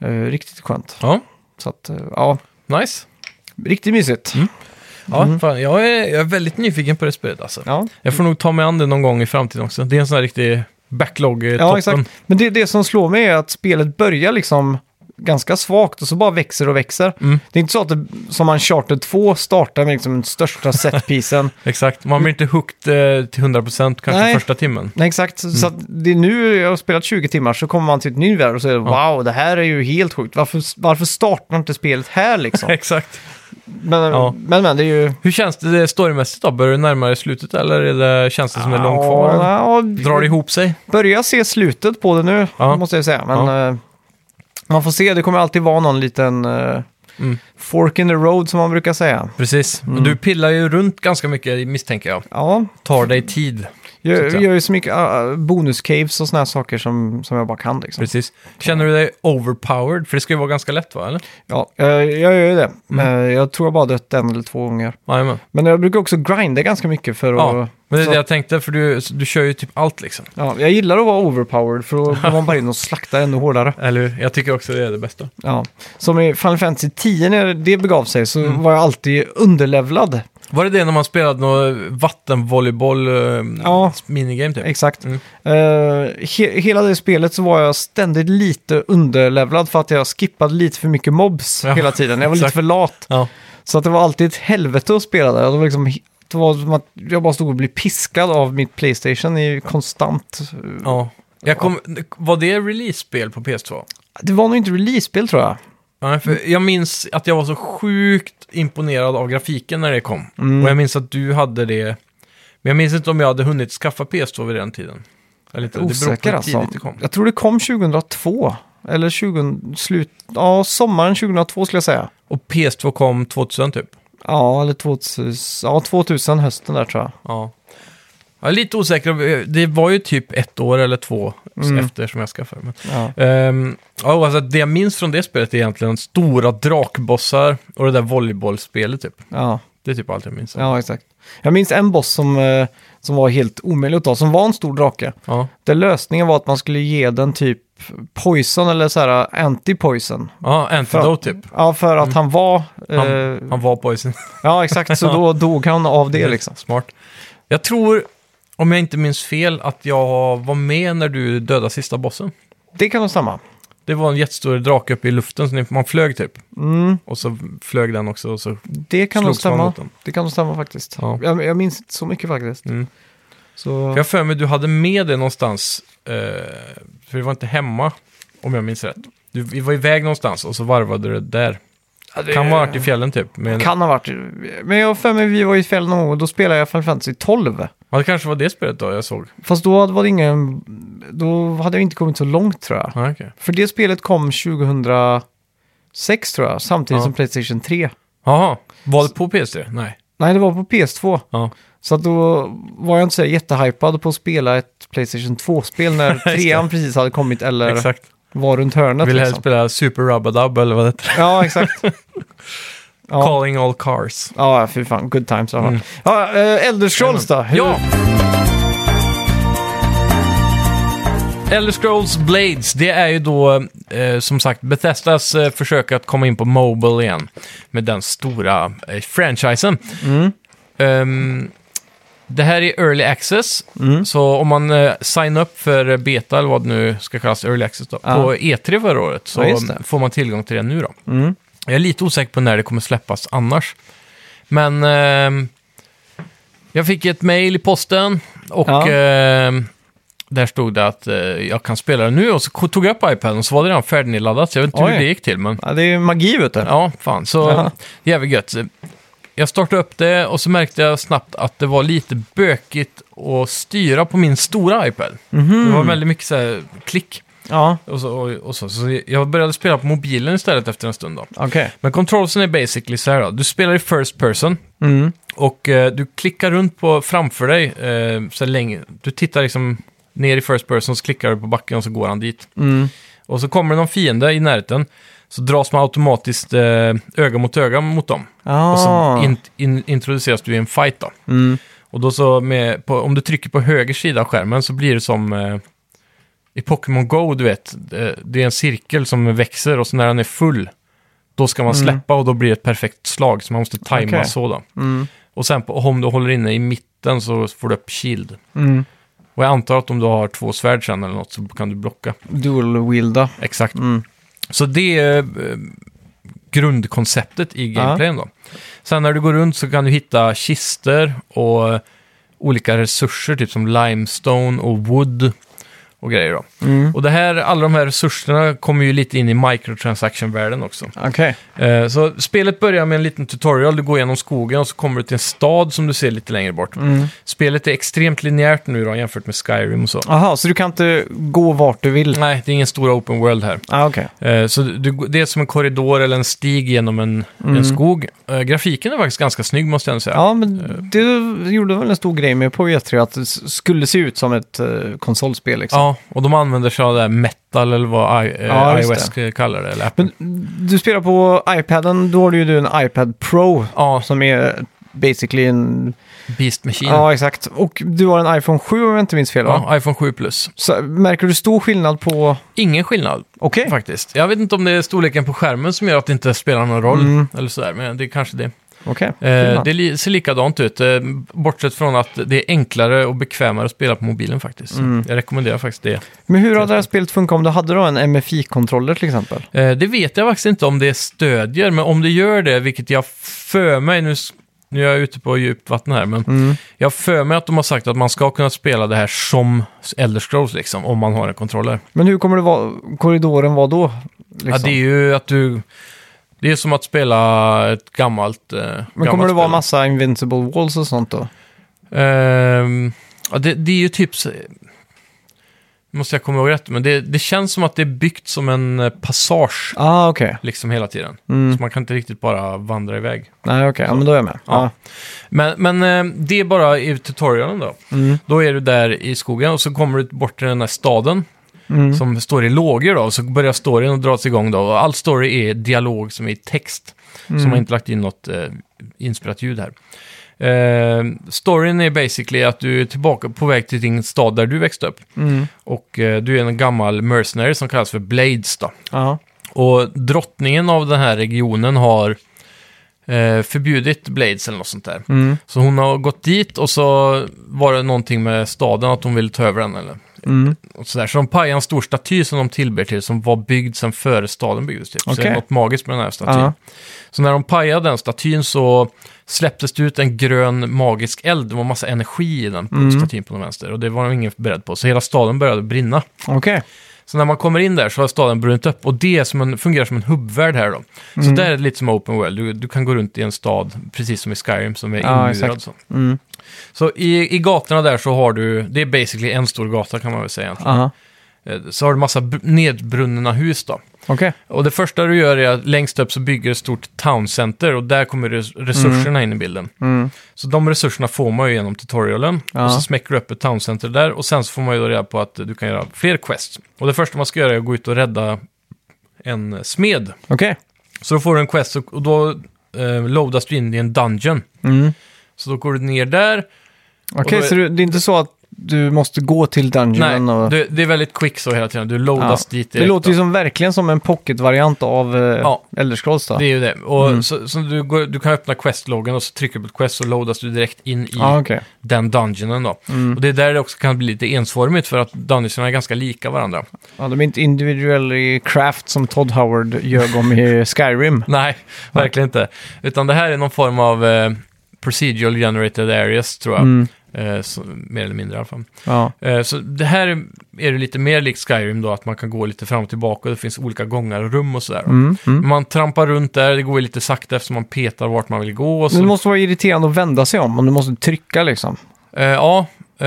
Eh, riktigt skönt.
ja.
Så att, eh, ja,
Nice.
riktigt mysigt.
Ja, fan, jag, är, jag är väldigt nyfiken på det spelet alltså.
Mm. Ja.
Jag får nog ta mig an det någon gång i framtiden också. Det är en sån här riktig backlog-toppen.
Ja, exakt. Men det, det som slår mig är att spelet börjar liksom ganska svagt och så bara växer och växer. Det är inte så att det, som Uncharted 2 startar med liksom den största setpisen.
Exakt, man blir inte hooked eh, till 100% kanske
Nej.
första timmen.
Nej, exakt. Så
Mm.
att det är nu jag har spelat 20 timmar så kommer man till ett ny värld och så är det wow, det här är ju helt sjukt. Varför, varför startar inte spelet här liksom?
Exakt.
Men,
Ja.
men, men det är ju...
Hur känns det eh, storymässigt då? Börjar du närmare slutet eller är det, känns det som det är långt kvar?
Ja,
Drar det ihop sig?
börjar se slutet på det nu,
Ja.
måste jag säga. Men
Ja.
eh, man får se, det kommer alltid vara någon liten eh,
Mm.
fork in the road som man brukar säga.
Precis.
Mm.
Och du pillar ju runt ganska mycket misstänker jag.
Ja,
Tar dig tid.
jag
Tyckte
jag
jag.
gör ju så mycket uh, bonuscaves och såna här saker som, som jag bara kan. Liksom.
Precis. Känner du dig overpowered? För det ska ju vara ganska lätt va? Eller?
Ja, eh, jag gör ju det.
Mm.
Eh, jag tror jag bara dött en eller två gånger.
Jajamän.
Men jag brukar också grinda ganska mycket för att...
Ja, men det är
så-
det jag tänkte för du, du kör ju typ allt liksom.
Ja, jag gillar att vara overpowered för då går man bara in och slaktar ännu hårdare.
Eller hur? Jag tycker också det är det bästa.
Ja. Som i Final Fantasy 10 när det begav sig så
Mm.
var jag alltid underlevlad.
Var det det när man spelade någon vattenvolleyboll eh,
Ja.
minigame typ?
Exakt.
Mm.
Eh, he hela det spelet så var jag ständigt lite underlevlad för att jag skippade lite för mycket mobs
Ja,
hela tiden. Jag var lite
exakt.
för lat.
Ja.
Så att det var alltid ett helvete att spela där. Det var liksom, he- det var som att jag bara stod och blev piskad av mitt Playstation i konstant...
ja. Jag kom, var det release-spel på PS2?
Det var nog inte release-spel tror jag.
Nej, för
Mm.
jag minns att jag var så sjukt imponerad av grafiken när det kom.
Mm.
Och jag minns att du hade det. Men jag minns inte om jag hade hunnit skaffa PS2 vid den tiden. Eller inte, det beror på
Osäker
hur
alltså.
tidigt det kom.
Jag tror det kom 2002. Eller 20, slut, ja, sommaren 2002 skulle jag säga.
Och PS2 kom 2000 typ.
Ja, eller 2000, ja, 2000 hösten där tror jag.
Ja. Jag är lite osäker. Det var ju typ ett år eller två
Mm.
efter som jag skaffade. Men,
Ja.
Ehm, ja, oavsett, det jag minns från det spelet är egentligen stora drakbossar och det där volleybollspelet typ.
Ja.
Det är typ allt jag minns.
Ja, exakt. Jag minns en boss som, eh, som var helt omöjlig att ta, som var en stor drake.
Ja.
Där lösningen var att man skulle ge den typ poison eller så här eh, anti-poison.
ja, Antidote typ.
Ja, för att han var... Eh,
Han, han var poison.
Ja, exakt. Så då dog han av det liksom.
Smart. Jag tror, om jag inte minns fel, att jag var med när du dödade sista bossen.
Mm, Det kan nog stämma.
Det var en jättestor drake uppe i luften, så ni- man flög typ.
Mm,
Och så flög den också och så
det kan nog
slogs man
stämma.
mot den.
Det kan nog stämma faktiskt.
Ja.
Jag, jag minns inte så mycket faktiskt.
Mm.
Så...
För jag har för mig du hade med det någonstans, eh, för du var inte hemma, om jag minns rätt. Du vi var iväg någonstans och så varvade du det där.
Ja, det-
Kan vara varit i fjällen typ. Men,
Kan ha varit. Men jag har för mig vi var i fjällen någon gång och då spelade jag Final Fantasy 12.
ja, det kanske var det spelet då jag såg.
Fast då hade- var det ingen... Då hade jag inte kommit så långt tror jag.
Ah, okay.
För det spelet kom 2006 tror jag, samtidigt
Ja.
som Playstation 3.
Jaha, var det på PS3? Nej.
Nej, det var på PS2.
Ja.
Så att då var jag inte så jättehypad på att spela ett Playstation 2-spel när trean precis hade kommit eller
Exakt.
var runt hörnet.
Vill helst
liksom.
spela Super Rubadub eller vad det heter.
Ja, exakt. ja.
Calling all cars.
ja, fy fan. Good times. Mm.
Mm.
Ja, äh, Elder Scrolls då? Hur-
Ja! Elder Scrolls Blades, det är ju då eh, som sagt Bethesdas eh, försök att komma in på Mobile igen med den stora eh, franchisen.
Mm.
Ehm, det här är Early Access,
Mm.
så om man eh, signar upp för beta, eller vad det nu ska kallas, Early Access då,
Ja.
på E3 förra året så
Ja, just det.
får man tillgång till det nu då.
Mm.
Jag är lite osäker på när det kommer släppas annars. Men ehm, jag fick ett mejl i posten och
Ja.
ehm, där stod det att eh, jag kan spela det nu och så ko- tog jag upp iPaden och så var det redan färdigladdat. så Jag vet inte
Oj.
hur det gick till men
Ja, det är magi, vet du.
ja, fan. Så
Jaha.
jävligt gött. Jag startade upp det och så märkte jag snabbt att det var lite bökigt att styra på min stora iPad.
Mhm.
Det var väldigt mycket så här klick
Ja,
och så, och, och så. så jag började spela på mobilen istället efter en stund då.
okej.
Men controlsen är basically så här då. Du spelar i first person
Mm.
och eh, du klickar runt på framför dig eh, så länge. Du tittar liksom ner i first person, så klickar du på backen och så går han dit.
Mm.
Och så kommer det någon fiende i närheten, så dras man automatiskt eh, öga mot öga mot dem. Och så
Ah.
in, in, introduceras du i en fight då.
Mm.
Och då så med, på, om du trycker på höger sida av skärmen så blir det som eh, i Pokémon Go, du vet. Eh, det är en cirkel som växer och så när den är full, då ska man släppa och då blir det ett perfekt slag. Så man måste tajma
Mm. Okej.
så då.
Mm.
Och sen på, om du håller inne i mitten så får du upp shield.
Mm.
Och jag antar att om du har två svärd sen eller något så kan du blocka.
Dual-wielda.
Exakt.
Mm.
Så det är eh, grundkonceptet i gameplayen då. Sen när du går runt så kan du hitta kister och eh, olika resurser, typ som limestone och wood och grejer då.
Mm.
Och det här, alla de här resurserna kommer ju lite in i microtransaction-världen också.
Okej.
Eh, Så spelet börjar med en liten tutorial, du går genom skogen och så kommer du till en stad som du ser lite längre bort.
Mm.
Spelet är extremt linjärt nu då jämfört med Skyrim och så.
Aha, så du kan inte gå vart du vill?
Nej, det är ingen stor open world här.
Ah, okej.
Eh, Så du, det är som en korridor eller en stig genom en, en skog. Eh, Grafiken är faktiskt ganska snygg måste jag ändå säga.
Mm. Ja, men
Eh.
du gjorde väl en stor grej med på E3 att det s- skulle se ut som ett eh, konsolspel liksom.
Ja, och de använder sig av det här metal eller vad I, eh,
Ja, just
iOS kallar det. Eller Apple.
Men du spelar på iPaden, då har du ju du en iPad Pro
ja,
som är basically en...
Beast Machine. Ja,
Ja, exakt. Och du har en iPhone 7 om jag inte minns fel va?
iPhone 7 Plus.
Så, märker du stor skillnad på...
Ingen skillnad
Okej.
faktiskt. Jag vet inte om det är storleken på skärmen som gör att det inte spelar någon roll.
Mm.
Eller sådär, men det är kanske det.
Okej.
Eh,
Skillnad.
det li- ser likadant ut, eh, bortsett från att det är enklare och bekvämare att spela på mobilen faktiskt. Så
Mm.
Jag rekommenderar faktiskt det.
Men hur hade det här spelet funkat om du hade då en MFI-kontroller till exempel?
Eh, det vet jag faktiskt inte om det stödjer, men om det gör det, vilket jag för mig, nu, s- nu är jag ute på djupt vatten här, men
Mm.
jag för mig att de har sagt att man ska kunna spela det här som Elder Scrolls, liksom, om man har en kontroller.
Men hur kommer det vara, korridoren vara då? Liksom?
Ja, det är ju att du... Det är som att spela ett gammalt... Eh,
Men kommer det vara massa invincible walls och sånt då?
Ehm, ja, det, det är ju typ... så- Nu måste jag komma ihåg rätt, men det, det känns som att det är byggt som en eh, passage
Ah, okej.
liksom hela tiden.
Mm.
Så man kan inte riktigt bara vandra iväg.
Nej, okej. Ja, men då är jag med.
Ja.
Ja.
Men, men eh, det är bara i tutorialen då.
Mm.
Då är du där i skogen och så kommer du bort till den här staden
Mm.
som står i lågor då. Och så börjar storyn att dras igång då. Och all story är dialog som är i text.
Mm.
Så man har inte lagt in något eh, inspelat ljud här. Eh, storyn är basically att du är tillbaka på väg till din stad där du växte upp.
Mm.
Och eh, du är en gammal mercenary som kallas för Blades då.
Ja.
Och drottningen av den här regionen har eh, förbjudit Blades eller något sånt där.
Mm.
Så hon har gått dit och så var det någonting med staden att hon ville ta över den eller
Mm.
och sådär. Så de pajade en stor staty som de tillber till som var byggd sedan före staden byggdes typ. Så det är
Okej.
något magiskt med den här statyn.
Ja.
Så när de pajade den statyn så släpptes det ut en grön magisk eld. Det var massa energi i den på
Mm.
statyn på den vänster och det var de ingen beredd på. Så hela staden började brinna.
Okej.
Så när man kommer in där så har staden brunnit upp och det är som en, fungerar som en hubbvärld här då. Så
Mm.
där är det lite som open world. Du, du kan gå runt i en stad, precis som i Skyrim, som är
Ja,
inmurad.
exakt.
så.
Mm.
så i, i gatorna där så har du, det är basically en stor gata kan man väl säga egentligen.
Aha.
Eh, Så har du massa br- nedbrunna hus då.
Okej.
Och det första du gör är att längst upp så bygger du ett stort towncenter och där kommer res- resurserna in i bilden.
Mm.
Så de resurserna får man ju genom tutorialen.
Ja.
Och så smäcker du upp ett towncenter där och sen så får man ju då reda på att du kan göra fler quests. Och det första man ska göra är att gå ut och rädda en smed.
Okej.
Så då får du en quest och och då eh, loadas du in i en dungeon.
Mm.
Så då går du ner där.
Okej,
Och då är-
så du, det är inte så att du måste gå till
Nej,
dungeonen och...
det, det är väldigt quick så hela tiden. Du loadas dit direkt.
det låter ju
då.
som, verkligen som en pocket-variant av eh,
Ja.
Elder Scrolls då.
Det är ju det. Och
Mm.
så, så du, går, du kan öppna questloggen och så trycker du på ett quest så loadas du direkt in i
Ja, okej.
den dungeonen då.
Mm.
Och det är där det också kan bli lite ensformigt för att dungeonerna är ganska lika varandra.
Ja, de är inte individuell i craft som Todd Howard ljög om i Skyrim.
Nej, verkligen inte. Utan det här är någon form av eh, procedural generated areas tror jag.
Mm.
Eh, så, mer eller mindre i alla fall.
Ja.
Eh, så det här är, är det lite mer likt Skyrim då, att man kan gå lite fram och tillbaka och det finns olika gångar och rum och sådär.
Mm. Mm.
Man trampar runt där, det går ju lite sakta eftersom man petar vart man vill gå. Och så,
Men det måste vara irriterande att vända sig om, om du måste trycka liksom.
eh, ja, eh,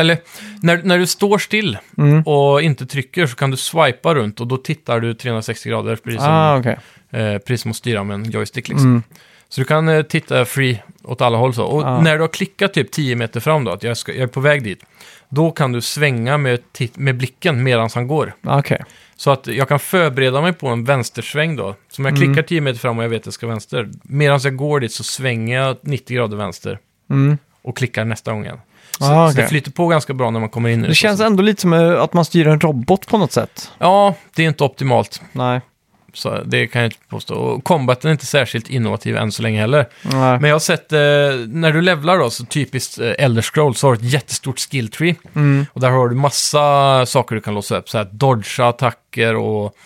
eller när, när du står still
Mm.
och inte trycker så kan du swipa runt och då tittar du 360 grader, precis som,
Ah, okej.
eh, precis som att styra med en joystick. Liksom.
Mm.
Så du kan eh, titta free åt alla håll så. Och
Ja.
när du har klickat typ 10 meter fram då, att jag, ska, jag är på väg dit, då kan du svänga med, tit- med blicken medan han går.
Ah, Okej.
Så att jag kan förbereda mig på en vänstersväng då. Så om jag
Mm.
klickar 10 meter fram och jag vet att jag ska vänster, medan jag går dit så svänger jag 90 grader vänster
Mm.
och klickar nästa gång igen. Så,
Ah,
så det liksom.
okej.
flyter på ganska bra när man kommer in i
Det känns ändå lite som eh, att man styr en robot på något sätt.
Ja, det är inte optimalt.
Nej.
Så det kan jag inte påstå. Och combaten är inte särskilt innovativ än så länge heller.
Nej.
Men jag har sett, eh, när du levlar då, så typiskt eh, Elder Scrolls, så har du ett jättestort skill tree.
Mm.
Och där har du massa saker du kan låsa upp, så här dodga attacker och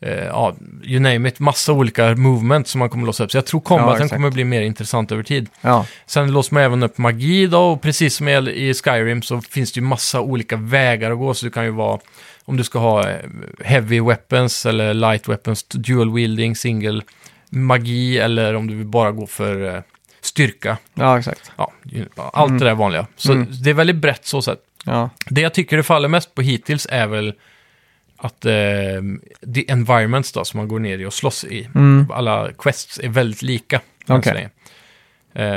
eh, ja, you name it, massa olika movement som man kommer låsa upp. Så jag tror combaten
exakt.
kommer bli mer intressant över tid.
Ja.
Sen låser man även upp magi då, och precis som i- i Skyrim så finns det ju massa olika vägar att gå. Så du kan ju vara, om du ska ha eh, heavy weapons eller light weapons, dual wielding, single magi eller om du vill bara gå för eh, styrka.
ja, exakt.
Ja, ju- ja, allt det där vanliga. Så
Mm.
det är väldigt brett så sätt.
Ja,
Det jag tycker det faller mest på hittills är väl att eh, the environments då, som man går ner i och slåss i,
Mm.
alla quests är väldigt lika. än
Okej.
så länge.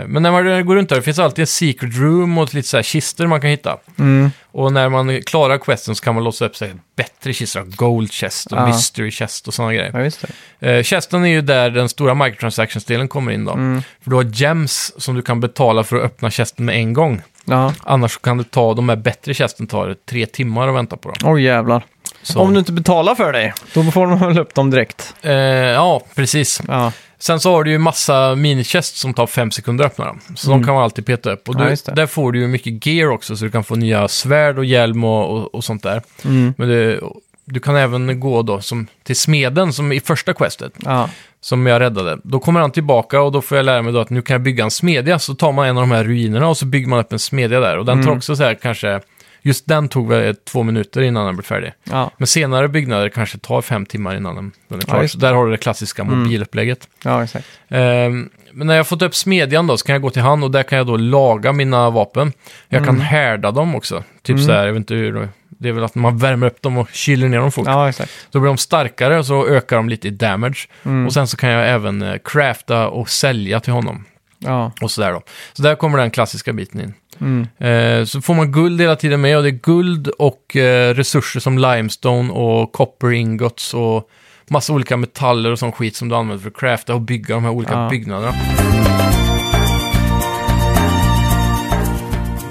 Eh, men när man går runt där, det finns alltid en secret room och lite så här kister man kan hitta.
mm.
Och när man klarar questen så kan man låsa upp sig bättre kistor, gold chest och
Ja.
mystery chest och sådana grejer.
ja just det.
Eh, chesten är ju där den stora microtransactions-delen kommer in då.
Mm.
För du har gems som du kan betala för att öppna chesten med en gång.
Ja.
Annars kan det ta, de här bättre tjänsten tar tre timmar att vänta på dem.
Oj jävlar.
Så,
Om du inte betalar för dig, då får de väl upp dem direkt.
eh, ja, precis.
Ja,
Sen så har du ju massa minichest som tar fem sekunder att öppna dem. Så de kan man alltid peta upp. Och
Mm. Ja,
du,
just det.
där får du ju mycket gear också, så du kan få nya svärd och hjälm och, och, och sånt där.
Mm.
Men det, du kan även gå då som, till smeden som i första questet,
ja.
som jag räddade. Då kommer han tillbaka och då får jag lära mig då att nu kan jag bygga en smedja. Så tar man en av de här ruinerna och så bygger man upp en smedja där. Och den
Mm.
tar också så här kanske, just den tog väl två minuter innan den blev färdig.
ja.
Men senare byggnader kanske tar fem timmar innan den- den är klar.
just Mm.
så där har du det klassiska mobilupplägget.
ja exakt.
Ehm, men när jag fått upp smedjan då så kan jag gå till han och där kan jag då laga mina vapen. Jag kan härda dem också. Typ så här, jag vet inte hur. Det är väl att man värmer upp dem och kyler ner dem fort.
Ja, exakt.
Då blir de starkare och så ökar de lite i damage. Och sen så kan jag även eh, crafta och sälja till honom.
Ja.
Och sådär då. Så där kommer den klassiska biten in.
Mm.
Eh, så får man guld hela tiden med och det är guld och eh, resurser som limestone och copper ingots och massa olika metaller och sån skit som du använder för att crafta och bygga de här olika
Ja.
byggnaderna.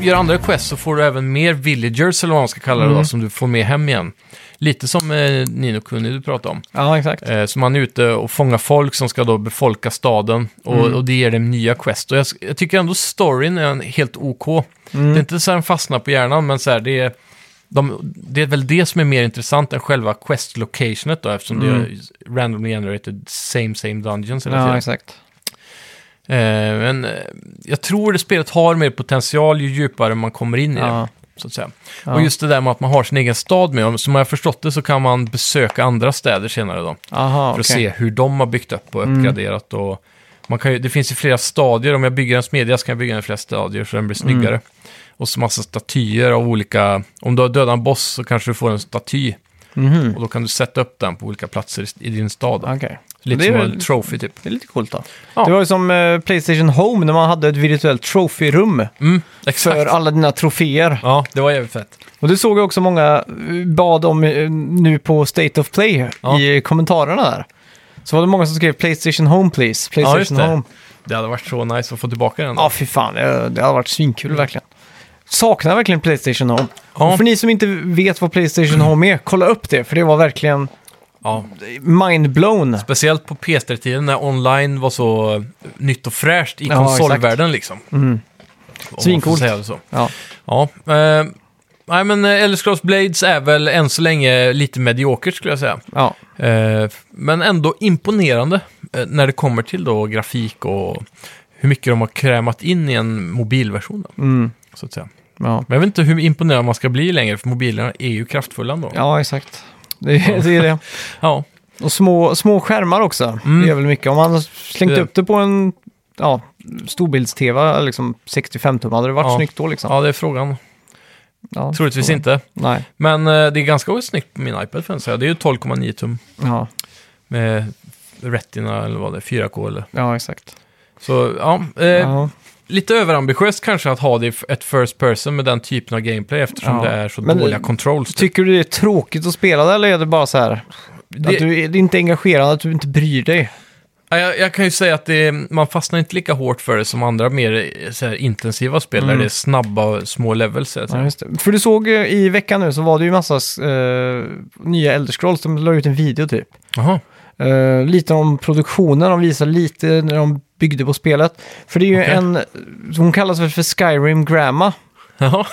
Gör andra quest så får du även mer villagers eller vad man ska kalla det då, som du får med hem igen. Lite som eh, Nino Kuni du pratade om.
Ja, exakt.
Eh, Så man är ute och fångar folk som ska då befolka staden och, och det ger dem nya quest. Och jag, jag tycker ändå storyn är en helt OK.
Mm.
Det är inte så här den fastnar på hjärnan, men så här, det, är, de, det är väl det som är mer intressant än själva quest-locationet då, eftersom det är randomly generated same same dungeons hela
Mm. Ja,
tiden.
exakt.
Eh, Men eh, jag tror det spelet har mer potential ju djupare man kommer in i
Ja.
det. Så att säga.
Ja.
Och just det där med att man har sin egen stad med. Som jag har förstått det så kan man besöka andra städer senare då
Aha,
för att
okej. Mm.
se hur de har byggt upp och uppgraderat. Och man kan ju, det finns ju flera stadier. Om jag bygger en smedja så kan jag bygga den i flera stadier så den blir
Mm.
snyggare. Och så massa statyer av olika... Om du har dödat en boss så kanske du får en staty.
Mhm.
Och då kan du sätta upp den på olika platser i- i din stad. då.
Okej.
Lite
Det är
som
väl-
en trophy typ.
Det är lite coolt då.
Ja.
Det var ju som eh, Playstation Home när man hade ett virtuellt trophy-rum
Mm,
för
exakt.
alla dina troféer.
Ja, det var jävligt fett.
Och det såg jag också många eh, bad om eh, nu på State of Play
Ja.
i kommentarerna där. Så var det många som skrev Playstation Home please,
Ja, just
Playstation
det.
Home.
Det hade varit så nice att få tillbaka den.
Ja, fy fan, det, det har varit svinkul verkligen. Saknar verkligen Playstation Home.
Ja.
Och för ni som inte vet vad Playstation Home är, kolla upp det, för det var verkligen
Ja.
mind-blown.
Speciellt på PS3-tiden när online var så eh, nytt och fräscht i
Ja,
konsolvärlden liksom.
Mm.
Om man får
Svincoolt.
säga det så.
Ja.
Ja, eh, nej men eh, Elder Scrolls Blades är väl än så länge lite mediokert skulle jag säga.
Ja,
Eh, men ändå imponerande eh, när det kommer till då grafik och hur mycket de har krämat in i en mobilversion. Då,
mm.
så att säga.
ja.
Men jag vet inte hur imponerad man ska bli längre för mobilerna är ju kraftfulla ändå.
ja exakt. Det, är- det är det.
ja.
Och små, små skärmar också.
Mm.
Det är väl mycket. Om man hade slängt
Det-
upp det på en ja, storbilds-tv, liksom 65 tum, hade det varit
Ja.
snyggt då liksom?
ja, det är frågan.
Ja,
Troligtvis
så.
inte.
Nej.
Men eh, det är ganska snyggt på min iPad för att säga. Det är ju 12,9 tum
Ja,
med Retina eller vad det är, 4K eller.
ja exakt.
Så ja, eh,
Ja.
lite överambitiöst kanske att ha det i f- ett first person med den typen av gameplay eftersom
Ja.
det är så
Men-
dåliga controls. typ.
Tycker du det är tråkigt att spela det, eller är det bara så här?
Det-
Att du är- det är inte engagerande, att du inte bryr dig?
Ja, Jag, jag kan ju säga att det, man fastnar inte lika hårt för det som andra mer eh, så här, intensiva spel
Mm.
där det är snabba och små levels. Ja.
Ja, just det. För du såg eh, i veckan nu så var det ju massa eh, nya Elder Scrolls, de la ut en video typ.
Jaha,
Eh, lite om produktionen, de visar lite när de byggde på spelet. För det är ju
Okej.
en, hon kallas väl för Skyrim Grandma.
Jaha,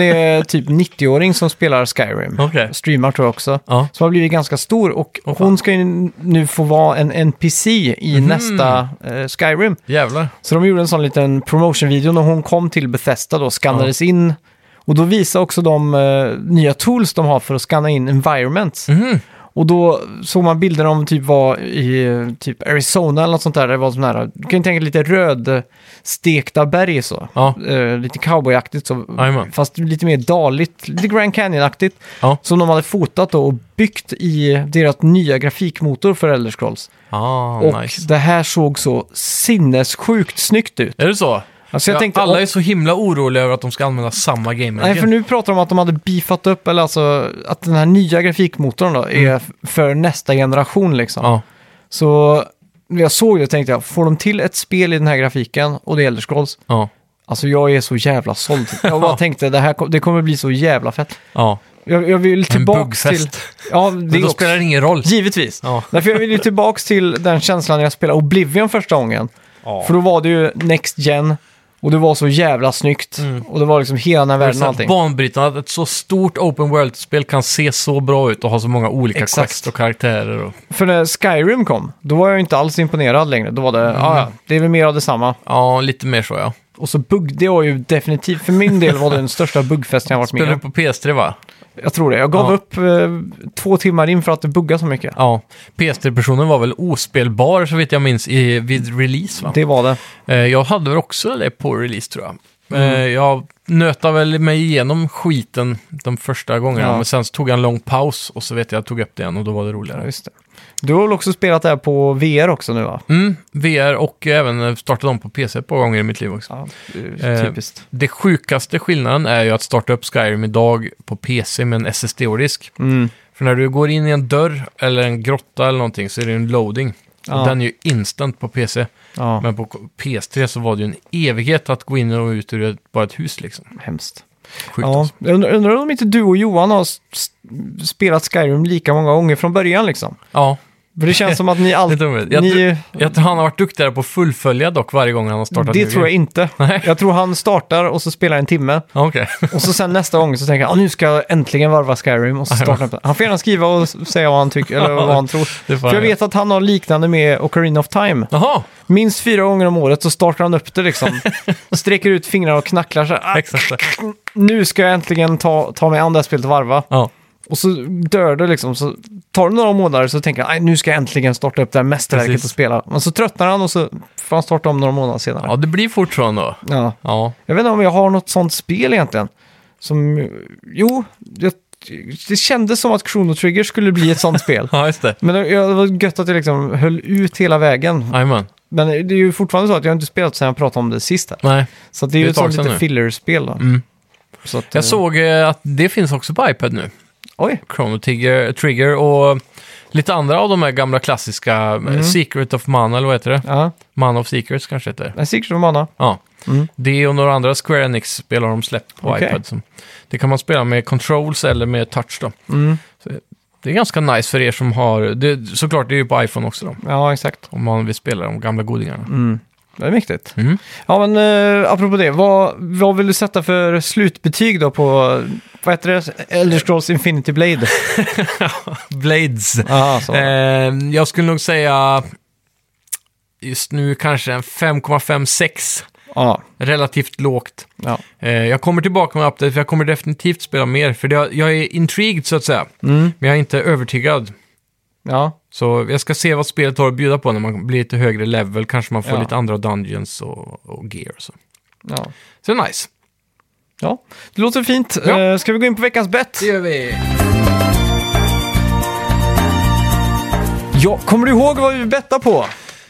är typ 90-åring som spelar Skyrim.
okej.
Streamar tror jag också.
Ja.
Som har blivit ganska stor och
Åh, fan. Mhm.
hon ska ju nu få vara en NPC i nästa eh, Skyrim.
Jävlar.
Så de gjorde en sån liten promotion-video när hon kom till Bethesda då, skannades in. Och då visade också de eh, nya tools de har för att scanna in environments.
Mhm.
Och då såg man bilder om typ var i eh, typ Arizona eller något sånt där. där Det var sån här, du kan ju tänka dig lite röd stekta berg så.
Ja.
Eh, lite cowboyaktigt så.
Jajamän.
Fast lite mer daligt, lite Grand Canyon-aktigt.
Ja.
Som de hade fotat då och byggt i deras nya grafikmotor för Elder Scrolls.
Ah,
och
nice.
det här såg så sinnessjukt snyggt ut.
Är det så?
Alltså jag
ja,
tänkte,
alla är så himla oroliga över att de ska använda samma game
Nej, för nu pratar de om att de hade beefat upp, eller alltså att den här nya grafikmotorn då är f- för nästa generation liksom.
Mm. Ja,
Så när jag såg det och tänkte jag, får de till ett spel i den här grafiken och det är Elder Scrolls,
ja,
alltså jag är så jävla såld. Jag bara tänkte, det här kom, det kommer bli så jävla fett.
ja.
Jag, jag vill
En
tillbaks till...
buggfest.
Ja,
Men
det
då
också.
spelar det ingen roll.
Givetvis.
Ja.
Därför jag vill ju tillbaks till den känslan när jag spelade Oblivion första gången. För då var det ju Next Gen och det var så jävla snyggt. Och det var liksom hela den här
Mm. Det är så
världen och
här
allting.
Banbrytande att ett så stort open world-spel kan se så bra ut och ha så många olika
Exakt.
quest och karaktärer. Och...
För när Skyrim kom, då var jag inte alls imponerad längre. Då var det, "Ah, ja, det är väl mer av detsamma.
Ja, lite mer så ja.
Och så bugg, det var ju definitivt, för min del var det den största buggfesten jag varit med
Spelar du
om.
på PS3 va?
Jag tror det. Jag gav
Ja.
upp eh, två timmar in för att det buggade så mycket.
Ja. PS3-personen var väl ospelbar så vet jag minns i, vid release va?
Det var det.
Eh, jag hade väl också det på release tror jag.
Mm.
Eh, jag nötade väl mig igenom skiten de första gångerna,
Ja.
men sen så tog jag en lång paus och så vet jag att jag tog upp det igen och då var det
Ja,
roligare.
just det. Du har väl också spelat det här på VR också nu va?
Mm, VR och även eh, startade om på PC ett par gånger i mitt liv också.
Ja,
Eh,
typiskt.
Det sjukaste skillnaden är ju att starta upp Skyrim idag på PC med en SSD-hårddisk.
Mm.
För när du går in i en dörr eller en grotta eller någonting så är det ju en loading.
Ja.
Och den är ju instant på PC.
Ja,
Men på PS3 så var det ju en evighet att gå in och ut ur ett, bara ett hus liksom.
hemskt.
Sjukt
Ja,
alltså.
jag undrar, undrar om inte du och Johan har s- s- spelat Skyrim lika många gånger från början liksom.
ja.
För det känns som att ni
Det är
alltid...
dumt. Jag, tror-
Ni,
jag tror han har varit duktigare på att fullfölja dock varje gång han har startat
det
en ny
tror jag
grej.
inte.
Nej.
Jag tror han startar och så spelar en timme.
Ja, Okej.
Och så sen nästa gång så tänker han, "Ah, nu ska jag äntligen varva Skyrim och så startar han. Han får gärna skriva och s- säga vad han tycker, eller vad han tror.
Det får
För
han
jag
göra.
vet att han har liknande med Ocarina of Time.
Jaha,
Minst fyra gånger om året så startar han upp det liksom. Sträcker ut fingrarna och knacklar så här. "Ah,
exakt.
Nu ska jag äntligen ta, ta mig an det här spelet och varva.
Ja.
Och så dör det liksom. Så tar det några månader så tänker han, "Aj, nu ska jag äntligen starta upp det här mästerverket
Precis.
och spela. Men så tröttnar han och så får han starta om några månader senare.
ja, det blir fort så ändå.
Ja.
Ja.
Jag vet inte om jag har något sånt spel egentligen. Som, jo, jag, det kändes som att Chrono Trigger skulle bli ett sånt spel.
ja, just det.
Men det jag- det var gött att jag liksom höll ut hela vägen.
Jajamän.
Men det är ju fortfarande så att jag har inte spelat sen jag pratade om det sist. Här.
Nej.
Så att det är ju
Det är
ett
ett tag
sånt
sedan
lite
nu.
fillerspel. Då.
Mm.
Så att, eh,
Jag såg eh, att det finns också på iPad nu.
Oj,
Chrono Trigger, Trigger och lite andra av de här gamla klassiska, eh,
Mm.
Secret of Mana eller vad heter det?
ja.
Man of Secrets kanske heter.
Nej, Secret of Mana.
Ja.
Mm.
Det och några andra Square Enix-spel har de släppt på
Okej.
iPad. Så det kan man spela med controls eller med touch då.
Mm.
Det är ganska nice för er som har, det, såklart det är ju på iPhone också då.
Ja, exakt.
Om man vill spela de gamla godingarna.
Mm. Det är mäktigt.
Mm.
Ja, men eh, apropå det, vad, vad vill du sätta för slutbetyg då på, vad heter det, Elder Scrolls Infinity Blade?
Blades.
Ja, så.
Eh, jag skulle nog säga just nu kanske en 5,56.
Ja,
Relativt lågt.
ja.
Eh, jag kommer tillbaka med update för jag kommer definitivt spela mer. För det, jag är intrigued så att säga.
Mm.
Men jag är inte övertygad.
Ja,
Så jag ska se vad spelet har att bjuda på när man blir lite högre level. Kanske man får
Ja.
lite andra dungeons och, och gear och så.
ja.
Så det är nice.
ja. Det låter fint.
Ja.
Eh, Ska vi gå in på veckans bett?
gör vi.
Ja, kommer du ihåg vad vi bettade på?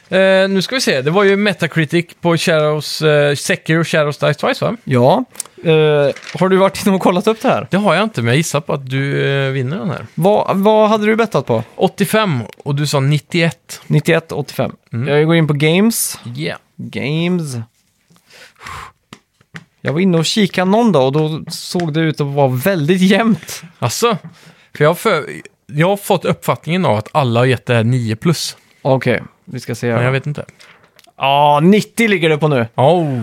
Eh, nu ska vi se, det var ju Metacritic på Shadows, eh, Sekiro och Shadows Dice Twice va?
Ja. Eh, har du varit inne och kollat upp det här?
Det har jag inte, men jag gissar på att du eh, vinner den här.
Vad, vad hade du bettat på?
85 och du sa 91.
91, 85.
Mm.
Jag går in på games.
Yeah.
Games. Jag var inne och kikade någon dag och då såg det ut att vara väldigt jämnt.
Alltså, för jag, har för jag har fått uppfattningen av att alla har gett det här 9 plus.
Okej, vi ska se
Men jag
här.
vet inte.
Ja, 90 ligger det på nu.
Oh.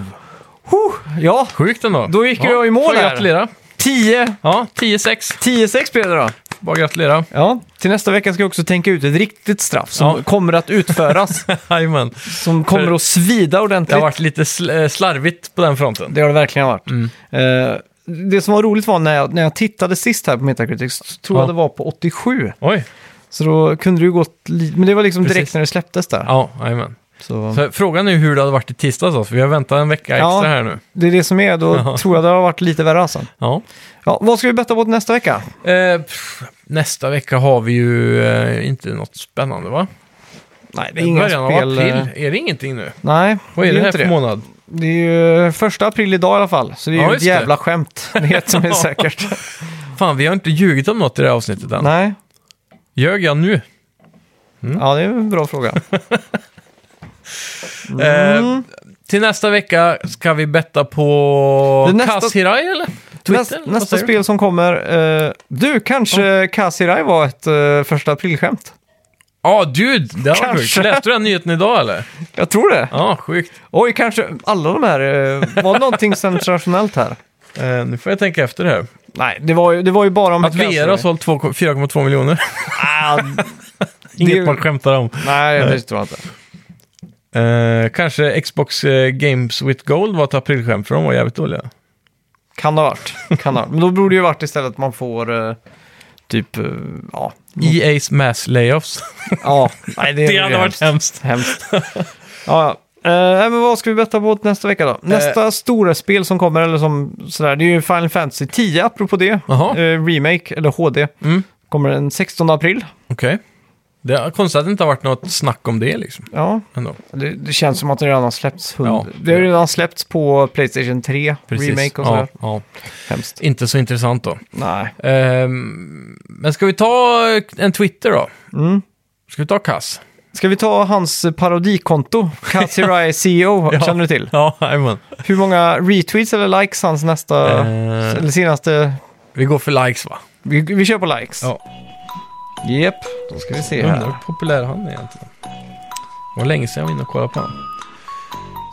Huh, ja,
Sjukt ändå.
Då gick
ja,
jag i mål
får
här.
gratulera.
10,
Ja, 10-6.
10-6 blev det då.
Bara gratulera.
Ja, till nästa vecka ska jag också tänka ut ett riktigt straff som
Ja.
kommer att utföras.
Jajamän.
som kommer att svida
Det
ordentligt.
har varit lite sl- eh, slarvigt på den fronten.
Det har det verkligen varit.
Mm.
Eh, det som var roligt var när jag, när jag tittade sist här på Metacritic, så tror
Ja.
jag det var på 87.
Oj.
Så då kunde det ju gått... li- Men det var liksom
Precis.
direkt när det släpptes där.
Ja, jajamän.
Så.
Så frågan är ju hur det hade varit i tisdags då, för vi har väntat en vecka
Ja.
extra här nu.
Det är det som är, då
Ja.
tror jag det har varit lite värre alltså.
Ja.
Ja, vad ska vi betta på till nästa vecka?
Eh, pff, nästa vecka har vi ju eh, inte något spännande va?
Nej,
Början av
eh,
april. Är det ingenting nu?
Nej,
Vad är det,
ju
här
inte
för månad?
Det är ju första april idag i alla fall, så det är
Ja,
ju ett
just det.
jävla skämt. Det är ett som är säkert.
Fan, vi har inte ljugit om något i det här avsnittet än.
Nej,
Ljög jag nu?
ja det är en bra fråga.
Eh, till nästa vecka ska vi betta på
Det nästa-
Kaz Hirai eller? Twitter?
Näst,
Vad
nästa
säger du?
spel som kommer, eh, du kanske Kazirai var ett eh, första aprilskämt?
Ja, dude! Det var sjukt.
Kanske.
Läste du den nyheten idag eller?
Jag tror det.
Ja, sjukt.
Oj, kanske alla de här, eh, var det någonting sensationellt här?
Eh, nu får jag tänka efter här.
Nej, det var ju, det var ju bara om...
Att Veras har sålt 2 4,2 miljoner.
Ah,
Inget man skämtar om.
Nej, det tror jag inte.
Eh, kanske Xbox eh, Games with Gold var ett aprilskämt, för de var jävligt dåliga.
Kan det ha varit. Kan det ha varit. Men då borde det ju varit istället att man får eh, typ, eh, ja.
EA's Mm. E mass layoffs.
ja. Nej, det, är
det hade
nog
varit
hemskt.
hemskt.
hemskt. ja, ja. Eh, nej, men vad ska vi betta på till nästa
Eh.
vecka då? Nästa stora spel som kommer, eller som sådär, det är ju Final Fantasy 10, apropå det.
Jaha.
Eh, remake, eller HD.
Mm.
Kommer den 16 april.
Okej. Det är konstigt att det inte har varit något snack om det liksom.
Ja,
Ändå.
det, det känns som att den redan har släppts. Hund...
Ja.
Det har ju redan släppts på Playstation 3,
Precis.
Remake och
ja,
sådär.
ja.
Hemskt.
Inte så intressant då.
Nej.
Ehm, men ska vi ta eh, en Twitter då?
Mm.
Ska vi ta Kass?
Ska vi ta hans parodikonto? Katsirai CEO,
Ja.
E känner du till?
Ja, jajamän.
Hur många retweets eller likes hans nästa,
Eh.
eller senaste...
Vi går för likes va?
Vi, vi kör på likes.
Ja.
Jep, då ska vi se
Jag undrar
här.
hur populär han är egentligen. Det var länge sedan jag var inne och kollade på honom.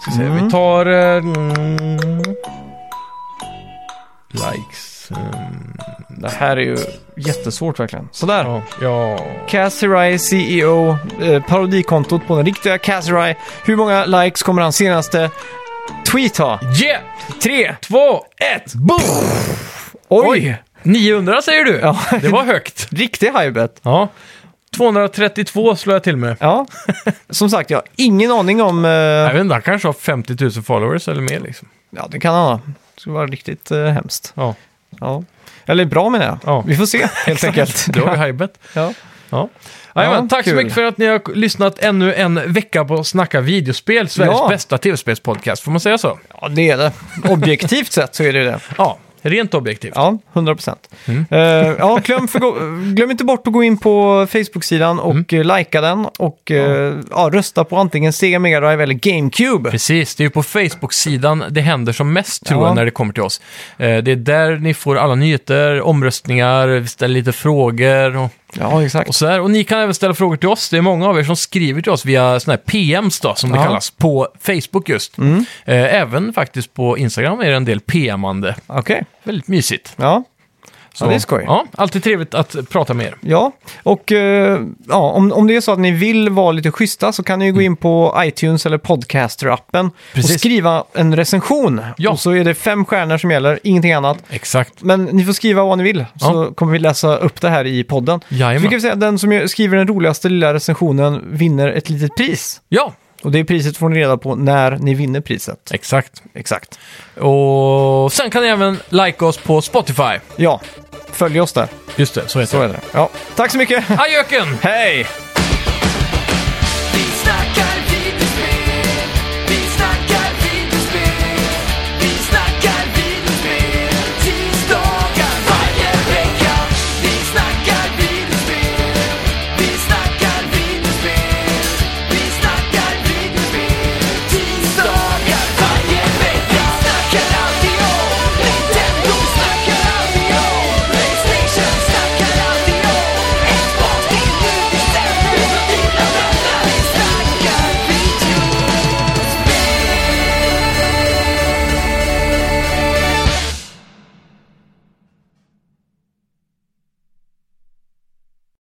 Ska se,
Mm.
vi tar... eh, Mm, likes. ehm,
Det här är ju jättesvårt verkligen. Sådär.
ja, ja.
Cassirai CEO, eh, parodikontot på den riktiga Cassirai. Hur många likes kommer hans senaste tweet ha?
Yeah!
Tre!
Två, ett, boom!
Oj!
900 säger du?
Ja.
Det var högt.
Riktig hajbet.
Ja. 232 slår jag till med.
Ja. Som sagt, jag har ingen aning om... eh,
Jag vet inte, han kanske har 50 000 followers eller mer liksom.
Ja, det kan han ha. Det skulle vara riktigt eh, hemskt.
Ja,
Ja. Eller bra menar jag.
Ja.
Vi får se helt enkelt.
det var ju hajbet.
ja.
Ja. Jajamän, tack så
kul.
mycket för att ni har lyssnat ännu en vecka på Snacka videospel, Sveriges
Ja.
bästa tv-spelspodcast. Får man säga så?
ja, det är det. Objektivt sett så är det ju det.
Ja, rent objektivt.
Ja, 100 procent.
Mm.
Eh, ja, glöm, för gå- glöm inte bort att gå in på Facebook-sidan och mm. likea den och eh, ja, rösta på antingen Sega Mega Drive eller GameCube.
Precis, det är ju på Facebook-sidan det händer som mest tror
Ja.
jag när det kommer till oss. Eh, Det är där ni får alla nyheter, omröstningar, vi ställer lite frågor och,
Ja, exakt.
och så där. Och ni kan även ställa frågor till oss. Det är många av er som skriver till oss via sådana här PMs då, som det
Ja.
kallas, på Facebook just. Eh, Även faktiskt på Instagram är det en del PM-ande.
Okej,
Väldigt mysigt.
ja.
Så,
Ja, det är skoj.
Ja, alltid trevligt att prata med er.
Ja, och eh, ja, om, om det är så att ni vill vara lite schyssta så kan ni ju gå in på iTunes eller Podcaster-appen och
Mm. Precis.
skriva en recension.
Ja.
Och så är det fem stjärnor som gäller, ingenting annat.
Exakt.
Men ni får skriva vad ni vill, så
Ja.
kommer vi läsa upp det här i podden.
Jajamän.
Vi kan väl säga att den som skriver den roligaste lilla recensionen vinner ett litet pris.
Ja,
Och det priset får ni reda på när ni vinner priset.
exakt.
Exakt.
Och sen kan ni även like oss på Spotify.
Ja, följ oss där.
Just det, så heter
Så är
det.
det. Ja. Tack så mycket.
Adjöken!
Hej!